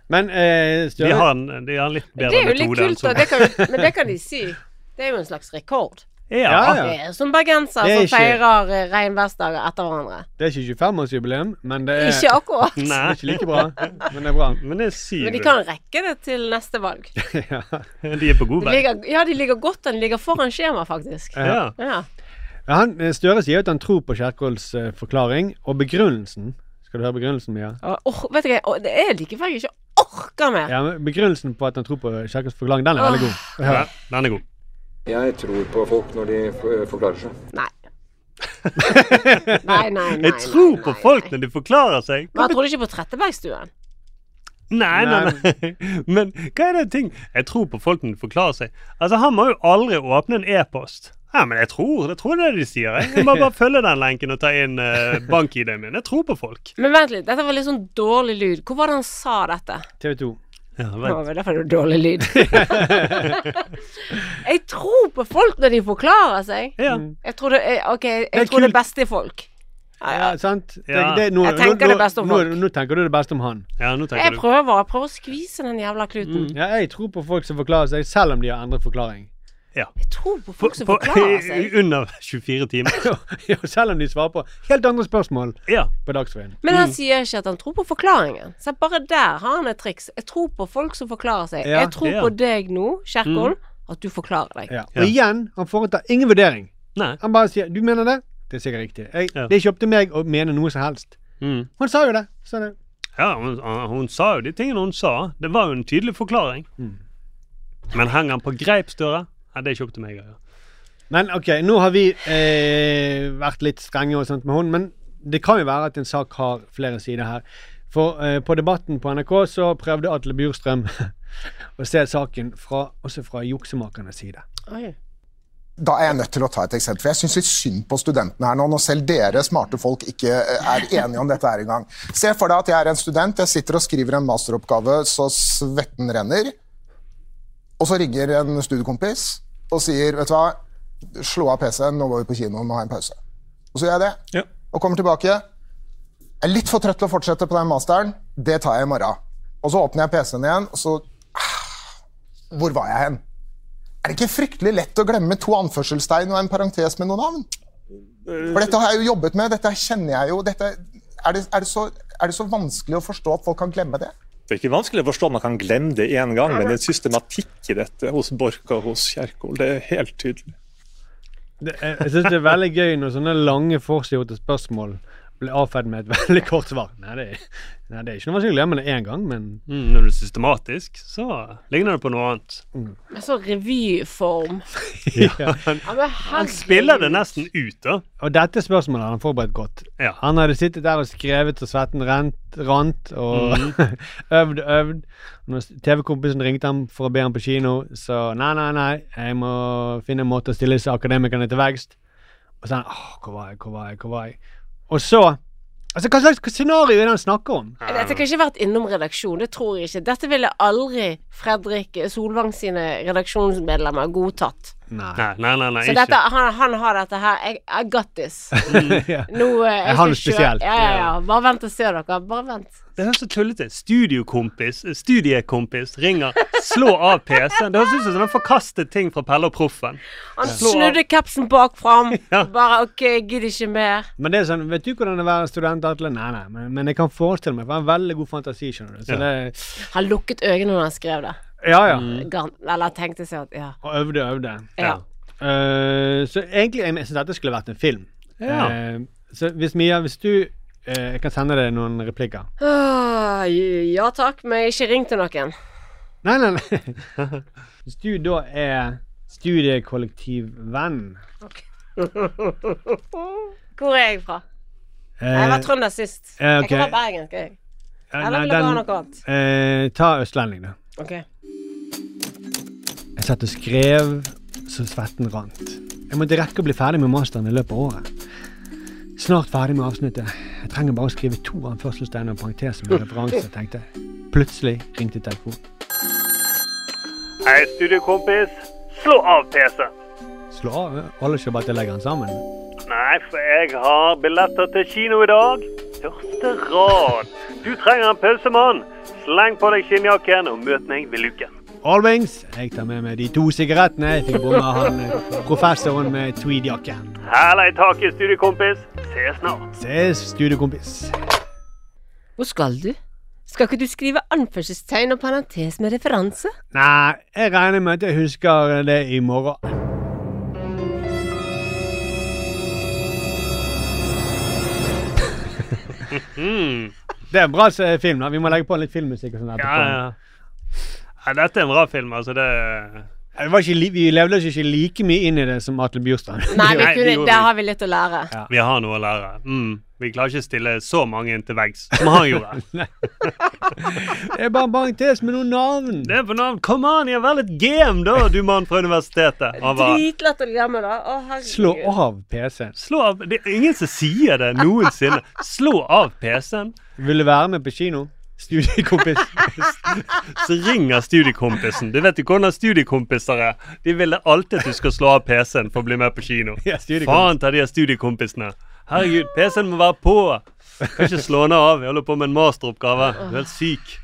Speaker 2: Men eh,
Speaker 3: De
Speaker 2: Støre
Speaker 3: har en, de har en litt bedre
Speaker 4: Det er jo litt
Speaker 3: metode altså. enn
Speaker 4: kult,
Speaker 3: Solberg.
Speaker 4: da. Det kan, jo- men det kan de si. Det er jo en slags rekord.
Speaker 2: Ah, Ja, ja.
Speaker 4: Det er som bergensere
Speaker 2: Det er
Speaker 4: som
Speaker 2: ikke-
Speaker 4: feirer eh, regnværsdager etter hverandre.
Speaker 2: Det er ikke 25-årsjubileum, men det er
Speaker 4: Ikke akkurat.
Speaker 2: Det er ikke like bra, men det er bra.
Speaker 3: Men det er syv.
Speaker 4: Men de kan rekke det til neste valg.
Speaker 2: ja.
Speaker 3: De er på god
Speaker 4: De
Speaker 3: vei.
Speaker 4: ligger, ja, de ligger godt an. De ligger foran skjema, faktisk.
Speaker 2: Ja.
Speaker 4: Ja.
Speaker 2: Ja, han, eh, Støre sier at han tror på Kjerkols eh, forklaring, og begrunnelsen Skal du høre begrunnelsen, Mia?
Speaker 4: Og, or, vet du hva, og det er like før jeg ikke orker mer.
Speaker 2: Ja, men begrunnelsen på at han tror på Kjerkols forklaring, den er veldig god.
Speaker 3: Ja, den er god.
Speaker 10: Jeg tror på folk når de eh, forklarer seg.
Speaker 4: Nei. nei, nei, nei.
Speaker 3: Jeg tror på folk når de forklarer seg.
Speaker 4: Men jeg trodde ikke på Trettebergstuen.
Speaker 3: Nei, nei, nei. Men hva er det ting Jeg tror på folk når de forklarer seg. Altså, han må jo aldri åpne en e-post. Ja, men jeg tror det tror det er det de sier. jeg. Jeg må bare følge den lenken og ta inn uh, bank-ID-en min. Jeg tror på folk.
Speaker 4: Men vent litt, dette var litt sånn dårlig lyd. Hvor var det han sa dette?
Speaker 2: TV 2.
Speaker 3: Ja,
Speaker 4: Det var
Speaker 3: vent.
Speaker 4: vel derfor det var dårlig lyd. jeg tror på folk når de forklarer seg.
Speaker 3: Ja.
Speaker 4: Jeg tror det, jeg, ok,
Speaker 2: Det
Speaker 4: jeg
Speaker 2: er
Speaker 4: tror det
Speaker 2: kult.
Speaker 4: beste i folk.
Speaker 2: Ja, sant? Det,
Speaker 3: Ja.
Speaker 2: det, nå,
Speaker 4: Jeg tenker
Speaker 2: nå,
Speaker 4: det beste om
Speaker 2: nå,
Speaker 4: folk.
Speaker 2: nå, nå tenker du det beste om han.
Speaker 3: Ja, nå tenker
Speaker 4: Jeg
Speaker 3: du.
Speaker 4: prøver, jeg prøver å skvise den jævla
Speaker 3: Mm.
Speaker 4: kluten.
Speaker 2: Ja, jeg tror på folk som forklarer seg, selv om de har endret forklaring.
Speaker 4: Jeg tror på folk som
Speaker 3: På,
Speaker 4: forklarer seg.
Speaker 3: under 24 timer.
Speaker 2: Ja, selv om de svarer på helt andre spørsmål
Speaker 3: Ja.
Speaker 2: på Dagsrevyen.
Speaker 4: Men han sier ikke at han tror på forklaringen. Så bare der har han et triks. Jeg tror på folk som forklarer seg.
Speaker 2: Ja,
Speaker 4: jeg tror
Speaker 3: ja.
Speaker 4: på deg nå, Kjerkol, at du forklarer deg.
Speaker 2: Ja. Og igjen, han foretar ingen vurdering.
Speaker 3: Nei.
Speaker 2: Han bare sier 'du mener det', det er sikkert riktig. Jeg,
Speaker 3: Ja.
Speaker 2: Det er ikke opp til meg å mene noe som helst.
Speaker 3: Mm.
Speaker 2: Han sa jo det. Så det.
Speaker 3: Ja, hun, hun sa jo de tingene hun sa. Det var jo en tydelig forklaring. Men hang han på greip, Støre? Ja, det er ikke opp til meg å gjøre.
Speaker 2: Men ok, nå har vi eh, vært litt strenge og sånt med hun, men det kan jo være at en sak har flere sider her. For eh, på Debatten på NRK så prøvde Atle Bjurstrøm å se saken fra, også fra juksemakernes side.
Speaker 4: Oi.
Speaker 11: Da er jeg nødt til å ta et eksempel. for Jeg syns litt synd på studentene her nå, når selv dere smarte folk ikke eh, er enige om dette her engang. Se for deg at jeg er en student. Jeg sitter og skriver en masteroppgave så svetten renner. Og så rigger en studiekompis og sier vet du hva, slå av PC-en, nå går vi på kinoen og har en pause. Og så gjør jeg det. Og kommer tilbake. Jeg er litt for trøtt til å fortsette på den masteren. Det tar jeg i morgen. Og så åpner jeg PC-en igjen, og så ah, Hvor var jeg hen? Er det ikke fryktelig lett å glemme to anførselstegn og en parentes med noen navn? For dette har jeg jo jobbet med, dette kjenner jeg jo. Dette, er, det, er, det så, er det så vanskelig å forstå at folk kan glemme det?
Speaker 12: Det er ikke vanskelig å forstå at man kan glemme det én gang, men det er systematikk i dette hos Borch og hos Kjerkol. Det er helt tydelig.
Speaker 2: Det, eh, jeg jeg syns det er veldig gøy når sånne lange forseggjorte spørsmål blir avfeid med et veldig kort svar. Nei, det er, nei, det er ikke noe vanskelig å glemme det én gang, men
Speaker 3: Mm, når du er systematisk, så ligner det på noe annet.
Speaker 4: Men så revyform.
Speaker 2: Ja.
Speaker 4: Ja, men
Speaker 3: Han spiller
Speaker 4: Mm.
Speaker 3: det nesten ut, da.
Speaker 2: Og dette spørsmålet har han forberedt godt. Han hadde sittet der og skrevet så svetten rent, rant, og
Speaker 3: Mhm.
Speaker 2: øvd, øvd. Og Når TV-kompisen ringte ham for å be ham på kino, så nei, nei, nei, jeg må finne en måte å stille disse akademikerne til vekst. Og så er han åh, hvor var jeg, hvor var jeg, hvor var jeg? Og så Altså, hva slags scenario er det han snakker om?
Speaker 4: Dette kan ikke vært innom redaksjon, det tror jeg ikke. Dette ville aldri Fredrik Solvang sine redaksjonsmedlemmer godtatt.
Speaker 2: Nei,
Speaker 3: nei, nei, nei
Speaker 4: Så dette, han, han har dette her. Jeg, I got this.
Speaker 3: ikke.
Speaker 4: Nå, eh, jeg
Speaker 3: Er han
Speaker 4: skal kjøre-
Speaker 3: spesiell?
Speaker 4: Ja, ja, ja. Bare vent og se, dere. Bare vent.
Speaker 3: Det høres så tullete ut. Studiokompis, eh, studiekompis ringer, slå av PC-en. Det høres ut som sånn forkastet ting fra Pelle og Proffen.
Speaker 4: Han
Speaker 3: Slå av.
Speaker 4: snudde kapsen bakfram. Bare OK, jeg gidder ikke mer.
Speaker 2: Men det er sånn, vet du hvordan det er å være student, Atle? Nei, nei, men, men jeg kan forestille meg, for jeg har veldig god fantasi, skjønner du. Så
Speaker 3: Ja.
Speaker 2: det,
Speaker 4: Han lukket øynene når han skrev det.
Speaker 2: ja, ja.
Speaker 3: Mhm.
Speaker 4: Gar- Eller tenkte seg at Ja.
Speaker 2: Og øvde og øvde.
Speaker 4: Ja.
Speaker 2: Eh, så egentlig jeg synes dette skulle vært en film.
Speaker 4: Ja.
Speaker 2: Eh, så hvis Mia, hvis du eh, Jeg kan sende deg noen replikker.
Speaker 4: Åh, Ah, ja takk, men ikke ring til noen.
Speaker 2: Nei, nei, nei. Hvis du da er studiekollektivvenn
Speaker 4: Hvor er jeg fra? Jeg var trønder sist.
Speaker 2: eh, ok.
Speaker 4: Jeg kan være bergensk, jeg.
Speaker 2: Ja,
Speaker 4: Eller
Speaker 2: eh, nei,
Speaker 4: vil dere ha
Speaker 2: den-
Speaker 4: noe annet?
Speaker 2: eh, Ta østlending, da.
Speaker 4: OK.
Speaker 2: Jeg satt og skrev så svetten rant. Jeg måtte rekke å bli ferdig med masteren i løpet av året. Snart ferdig med avsnittet. Jeg trenger bare å skrive to anførselstegn og parentes med referanse, tenkte jeg. Plutselig ringte telefonen.
Speaker 3: Hei, studiekompis. Slå av PC-en.
Speaker 2: Slå av. Holder ikke bare til å legge den sammen.
Speaker 3: Nei, for jeg har billetter til kino i dag. Første rad. Du trenger en pause, mann. Sleng på deg skinnjakken og møt meg ved luken.
Speaker 2: Alvings. Jeg tar med meg de to sigarettene jeg fikk bomme av han eh, professoren med tweedjakke.
Speaker 3: Hæla i taket, studiekompis. Se snart.
Speaker 2: Ses, studiekompis.
Speaker 4: Hvor skal du? Skal ikke du skrive anførselstegn og parentes med referanse?
Speaker 2: Nei, jeg regner med at jeg husker det i morgen. Det er en bra eh, film. da. Vi må legge på litt filmmusikk. og sånt
Speaker 3: Ja,
Speaker 2: etterpå.
Speaker 3: ja. ja. Dette er en bra film, altså. Det
Speaker 2: Ja, Det var ikke, li- vi levde oss ikke like mye inn i det som Atle Bjurstrand.
Speaker 4: Nei, vi
Speaker 3: Nei, det
Speaker 4: kunne,
Speaker 3: gjorde
Speaker 4: der
Speaker 3: vi.
Speaker 4: har vi litt å lære.
Speaker 3: Vi har noe å lære. Mm. Vi klarer ikke å stille så mange inn til veggs som han gjorde.
Speaker 2: Det er bare en parentes med noen navn.
Speaker 3: Det er på navn. Kom an, jeg er vel et game, da, du mann fra universitetet. Han var-
Speaker 4: Dritlett å glemme, da. Å, herregud.
Speaker 2: Slå av PC-en.
Speaker 3: Slå av Det er ingen som sier det noensinne. Slå av PC-en.
Speaker 2: Vil du være med på kino? Studiekompis.
Speaker 3: Så ringer studiekompisen. Du vet jo hvordan studiekompiser er. De vil alltid at du skal slå av PC-en for å bli med på kino.
Speaker 2: Ja, studiekompis.
Speaker 3: Faen ta de her studiekompisene. Herregud, PC-en må være på. Kan ikke slå den av. Jeg holder på med en masteroppgave. Du er helt syk.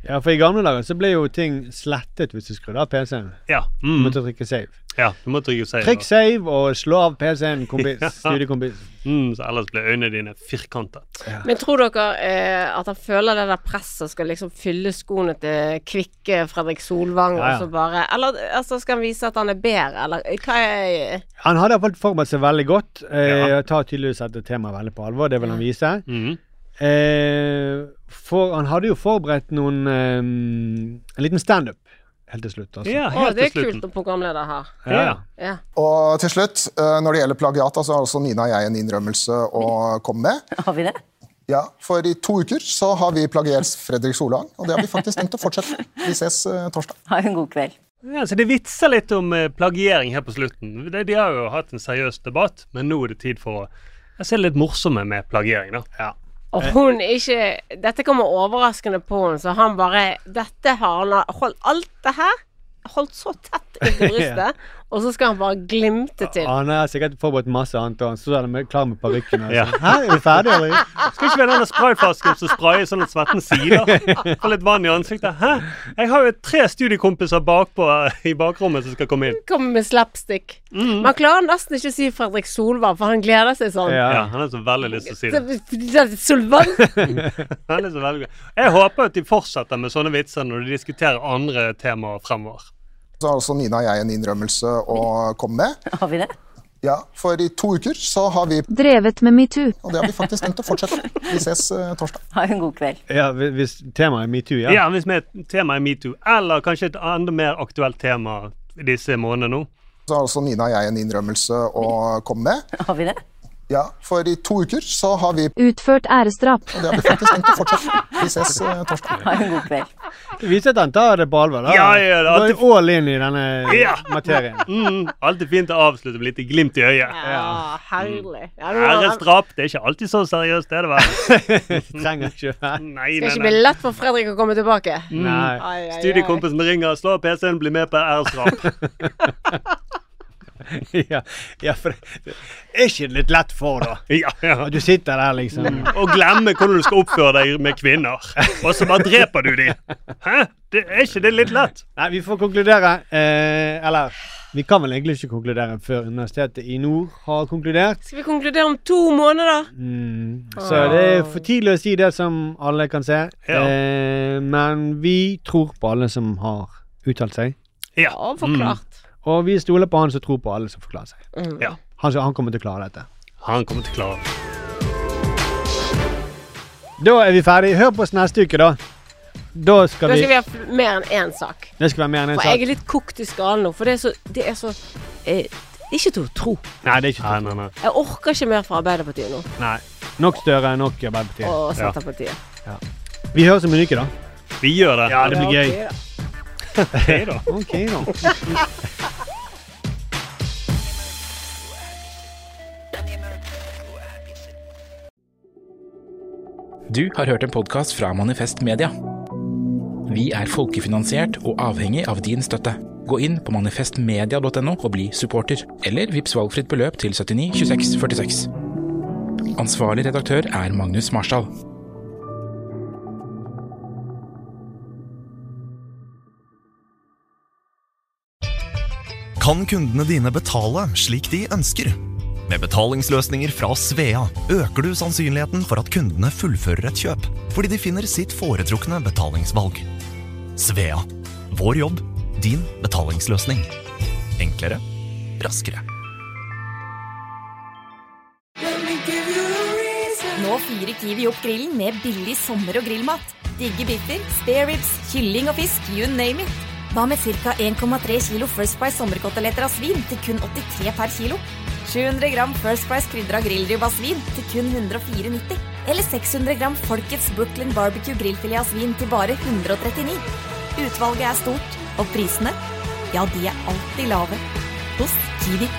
Speaker 2: Ja, for i gamle dager så ble jo ting slettet hvis du skrudde av PC-en.
Speaker 3: Ja.
Speaker 2: Du
Speaker 3: Mm.
Speaker 2: måtte trykke save.
Speaker 3: ja du må trykke save.
Speaker 2: Trykk save og slå av PC-en, kompis.
Speaker 3: Ja.
Speaker 2: Studiekompis.
Speaker 3: Mm, så ellers blir øynene dine firkantet.
Speaker 4: Men tror dere eh, at han føler det der presset og skal liksom fylle skoene til kvikke Fredrik Solvang,
Speaker 2: Ja, ja.
Speaker 4: og så bare Eller altså, skal han vise at han er bedre, eller eh, hva er
Speaker 2: Han hadde iallfall forberedt seg veldig godt. Eh, og Tar tydeligvis dette temaet veldig på alvor. Det vil han vise.
Speaker 3: Mm.
Speaker 2: eh, for han hadde jo forberedt noen eh, En liten standup helt til slutt. Altså.
Speaker 4: Å, det er kult om programleder her.
Speaker 2: Ja.
Speaker 4: Ja.
Speaker 11: Og til slutt, eh, når det gjelder plagiat, altså har også Nina og jeg en innrømmelse å komme med.
Speaker 8: Har vi det?
Speaker 11: Ja, For i to uker så har vi plagiert Fredrik Solvang, og det har vi faktisk tenkt å fortsette med. Vi ses eh, torsdag.
Speaker 8: Ha en god kveld.
Speaker 3: Ja, så Det vitser litt om eh, plagiering her på slutten. De, de har jo hatt en seriøs debatt, men nå er det tid for å jeg ser litt morsomme med plagiering, da.
Speaker 4: Og hun er ikke Dette kommer overraskende på henne, så han bare Dette har han holdt Alt det her holdt så tett inntil brystet, og så skal han bare glimte til.
Speaker 2: Han har sikkert forberedt masse annet, og han står der med, klar med parykken. og
Speaker 3: Ja.
Speaker 2: sånn, Hæ, er vi ferdige, eller?
Speaker 3: Skal ikke vi ha denne sprayflasken som sprayer sånn at svetten siler? Og litt vann i ansiktet. Hæ? Jeg har jo tre studiekompiser bakpå i bakrommet som skal komme inn.
Speaker 4: Kommer med slapstick. Man klarer nesten ikke å si Fredrik Solvang, for han gleder seg sånn.
Speaker 3: Ja, han har så veldig lyst til å si det.
Speaker 4: Det- Solvang!
Speaker 3: Han er så veldig glad. Jeg håper at de fortsetter med sånne vitser når de diskuterer andre temaer fremover.
Speaker 11: Så har også Nina og jeg en innrømmelse å komme med.
Speaker 8: Har vi det?
Speaker 11: Ja, for i to uker så har vi
Speaker 13: Drevet med metoo.
Speaker 11: Og det har vi faktisk tenkt å fortsette. Vi ses eh, torsdag.
Speaker 8: Ha en god kveld.
Speaker 2: Ja, hvis- hvis temaet er metoo, ja.
Speaker 3: Ja, hvis vi temaet er metoo, eller kanskje et enda mer aktuelt tema i disse månedene nå.
Speaker 11: Så har også Nina og jeg en innrømmelse å komme med.
Speaker 8: Har vi det?
Speaker 11: Ja, for i to uker så har vi
Speaker 13: Utført æresdrap.
Speaker 11: Og det har vi faktisk tenkt å fortsette. Vi ses eh, torsdag.
Speaker 8: Ha en god kveld.
Speaker 2: Det viser at han tar det på alvor. da.
Speaker 3: Ja, ja, det er
Speaker 2: Går
Speaker 3: alltid-
Speaker 2: all in i denne
Speaker 3: Ja!
Speaker 2: materien.
Speaker 3: Mm, alltid fint å avslutte med litt glimt i øyet.
Speaker 4: Ja, herlig. Ja, nå-
Speaker 3: Æresdrap, det er ikke alltid så seriøst, det er det vel?
Speaker 2: Trenger ikke være.
Speaker 3: Nei,
Speaker 4: Det
Speaker 3: nei,
Speaker 4: skal ikke
Speaker 3: nei.
Speaker 4: bli lett for Fredrik å komme tilbake.
Speaker 3: Mm.
Speaker 2: Nei.
Speaker 4: Ai, ai, ai.
Speaker 3: Studiekompisen ringer, slå av PC-en, bli med på æresdrap.
Speaker 2: ja, ja, for det er ikke det litt lett for, da.
Speaker 3: ja, ja.
Speaker 2: At du sitter der, liksom.
Speaker 3: Og glemme hvordan du skal oppføre deg med kvinner. Og så bare dreper du dem. Hæ? Det er ikke det litt lett?
Speaker 2: Nei, vi får konkludere. Eh, eller Vi kan vel egentlig ikke konkludere før Universitetet i Nord har konkludert.
Speaker 4: Skal vi konkludere om to måneder?
Speaker 2: Mm. Så det er
Speaker 3: Ah.
Speaker 2: for tidlig å si det som alle kan se.
Speaker 4: Ja.
Speaker 2: Eh, men vi tror på alle som har uttalt seg.
Speaker 3: Ja.
Speaker 4: forklart.
Speaker 2: Og vi stoler på han som tror på alle som forklarer seg.
Speaker 4: Mm.
Speaker 3: Ja.
Speaker 2: Han, han kommer til å klare dette.
Speaker 3: Han kommer til å klare det.
Speaker 2: Da er vi ferdig. Hør på oss neste uke, da. Da skal
Speaker 4: Da
Speaker 2: vi
Speaker 4: skal vi ha fl- mer enn én sak.
Speaker 2: Det skal være mer enn en
Speaker 4: For jeg
Speaker 2: sak.
Speaker 4: er litt kokt i skallen nå, for det er så, det er så eh, Ikke til å tro.
Speaker 2: Nei, det er ikke
Speaker 3: nei, nei.
Speaker 4: Jeg orker ikke mer fra Arbeiderpartiet nå.
Speaker 2: nei. Nok Støre, nok Arbeiderpartiet.
Speaker 4: Og Senterpartiet.
Speaker 2: Ja. Vi høres om en uke, da.
Speaker 3: Vi gjør det.
Speaker 2: Ja, det blir gøy.
Speaker 4: Ok, da.
Speaker 3: Ok, da.
Speaker 2: Ok, da.
Speaker 14: Du har hørt en podkast fra Manifest Media. Vi er folkefinansiert og avhengig av din støtte. Gå inn på manifestmedia.no og bli supporter, eller vips valgfritt beløp til 79 26 46. Ansvarlig redaktør er Magnus Marsdal.
Speaker 15: Kan kundene dine betale slik de ønsker? Med betalingsløsninger fra Svea øker du sannsynligheten for at kundene fullfører et kjøp, fordi de finner sitt foretrukne betalingsvalg. Svea vår jobb, din betalingsløsning. Enklere, raskere.
Speaker 16: Nå fyrer Kiwi opp grillen med billig sommer- og grillmat. Digge biffer, spare ribs, kylling og fisk, you name it. Hva med ca. 1,3 kilo First Price sommerkoteletter av svin til kun 83 per kilo? 700 gram First Price krydra grillribbe av svin til kun 104,90? Eller 600 gram Folkets Brooklyn barbecue grillfilet av svin til bare 139? Utvalget er stort, og prisene? Ja, de er alltid lave. Hos Kiwi.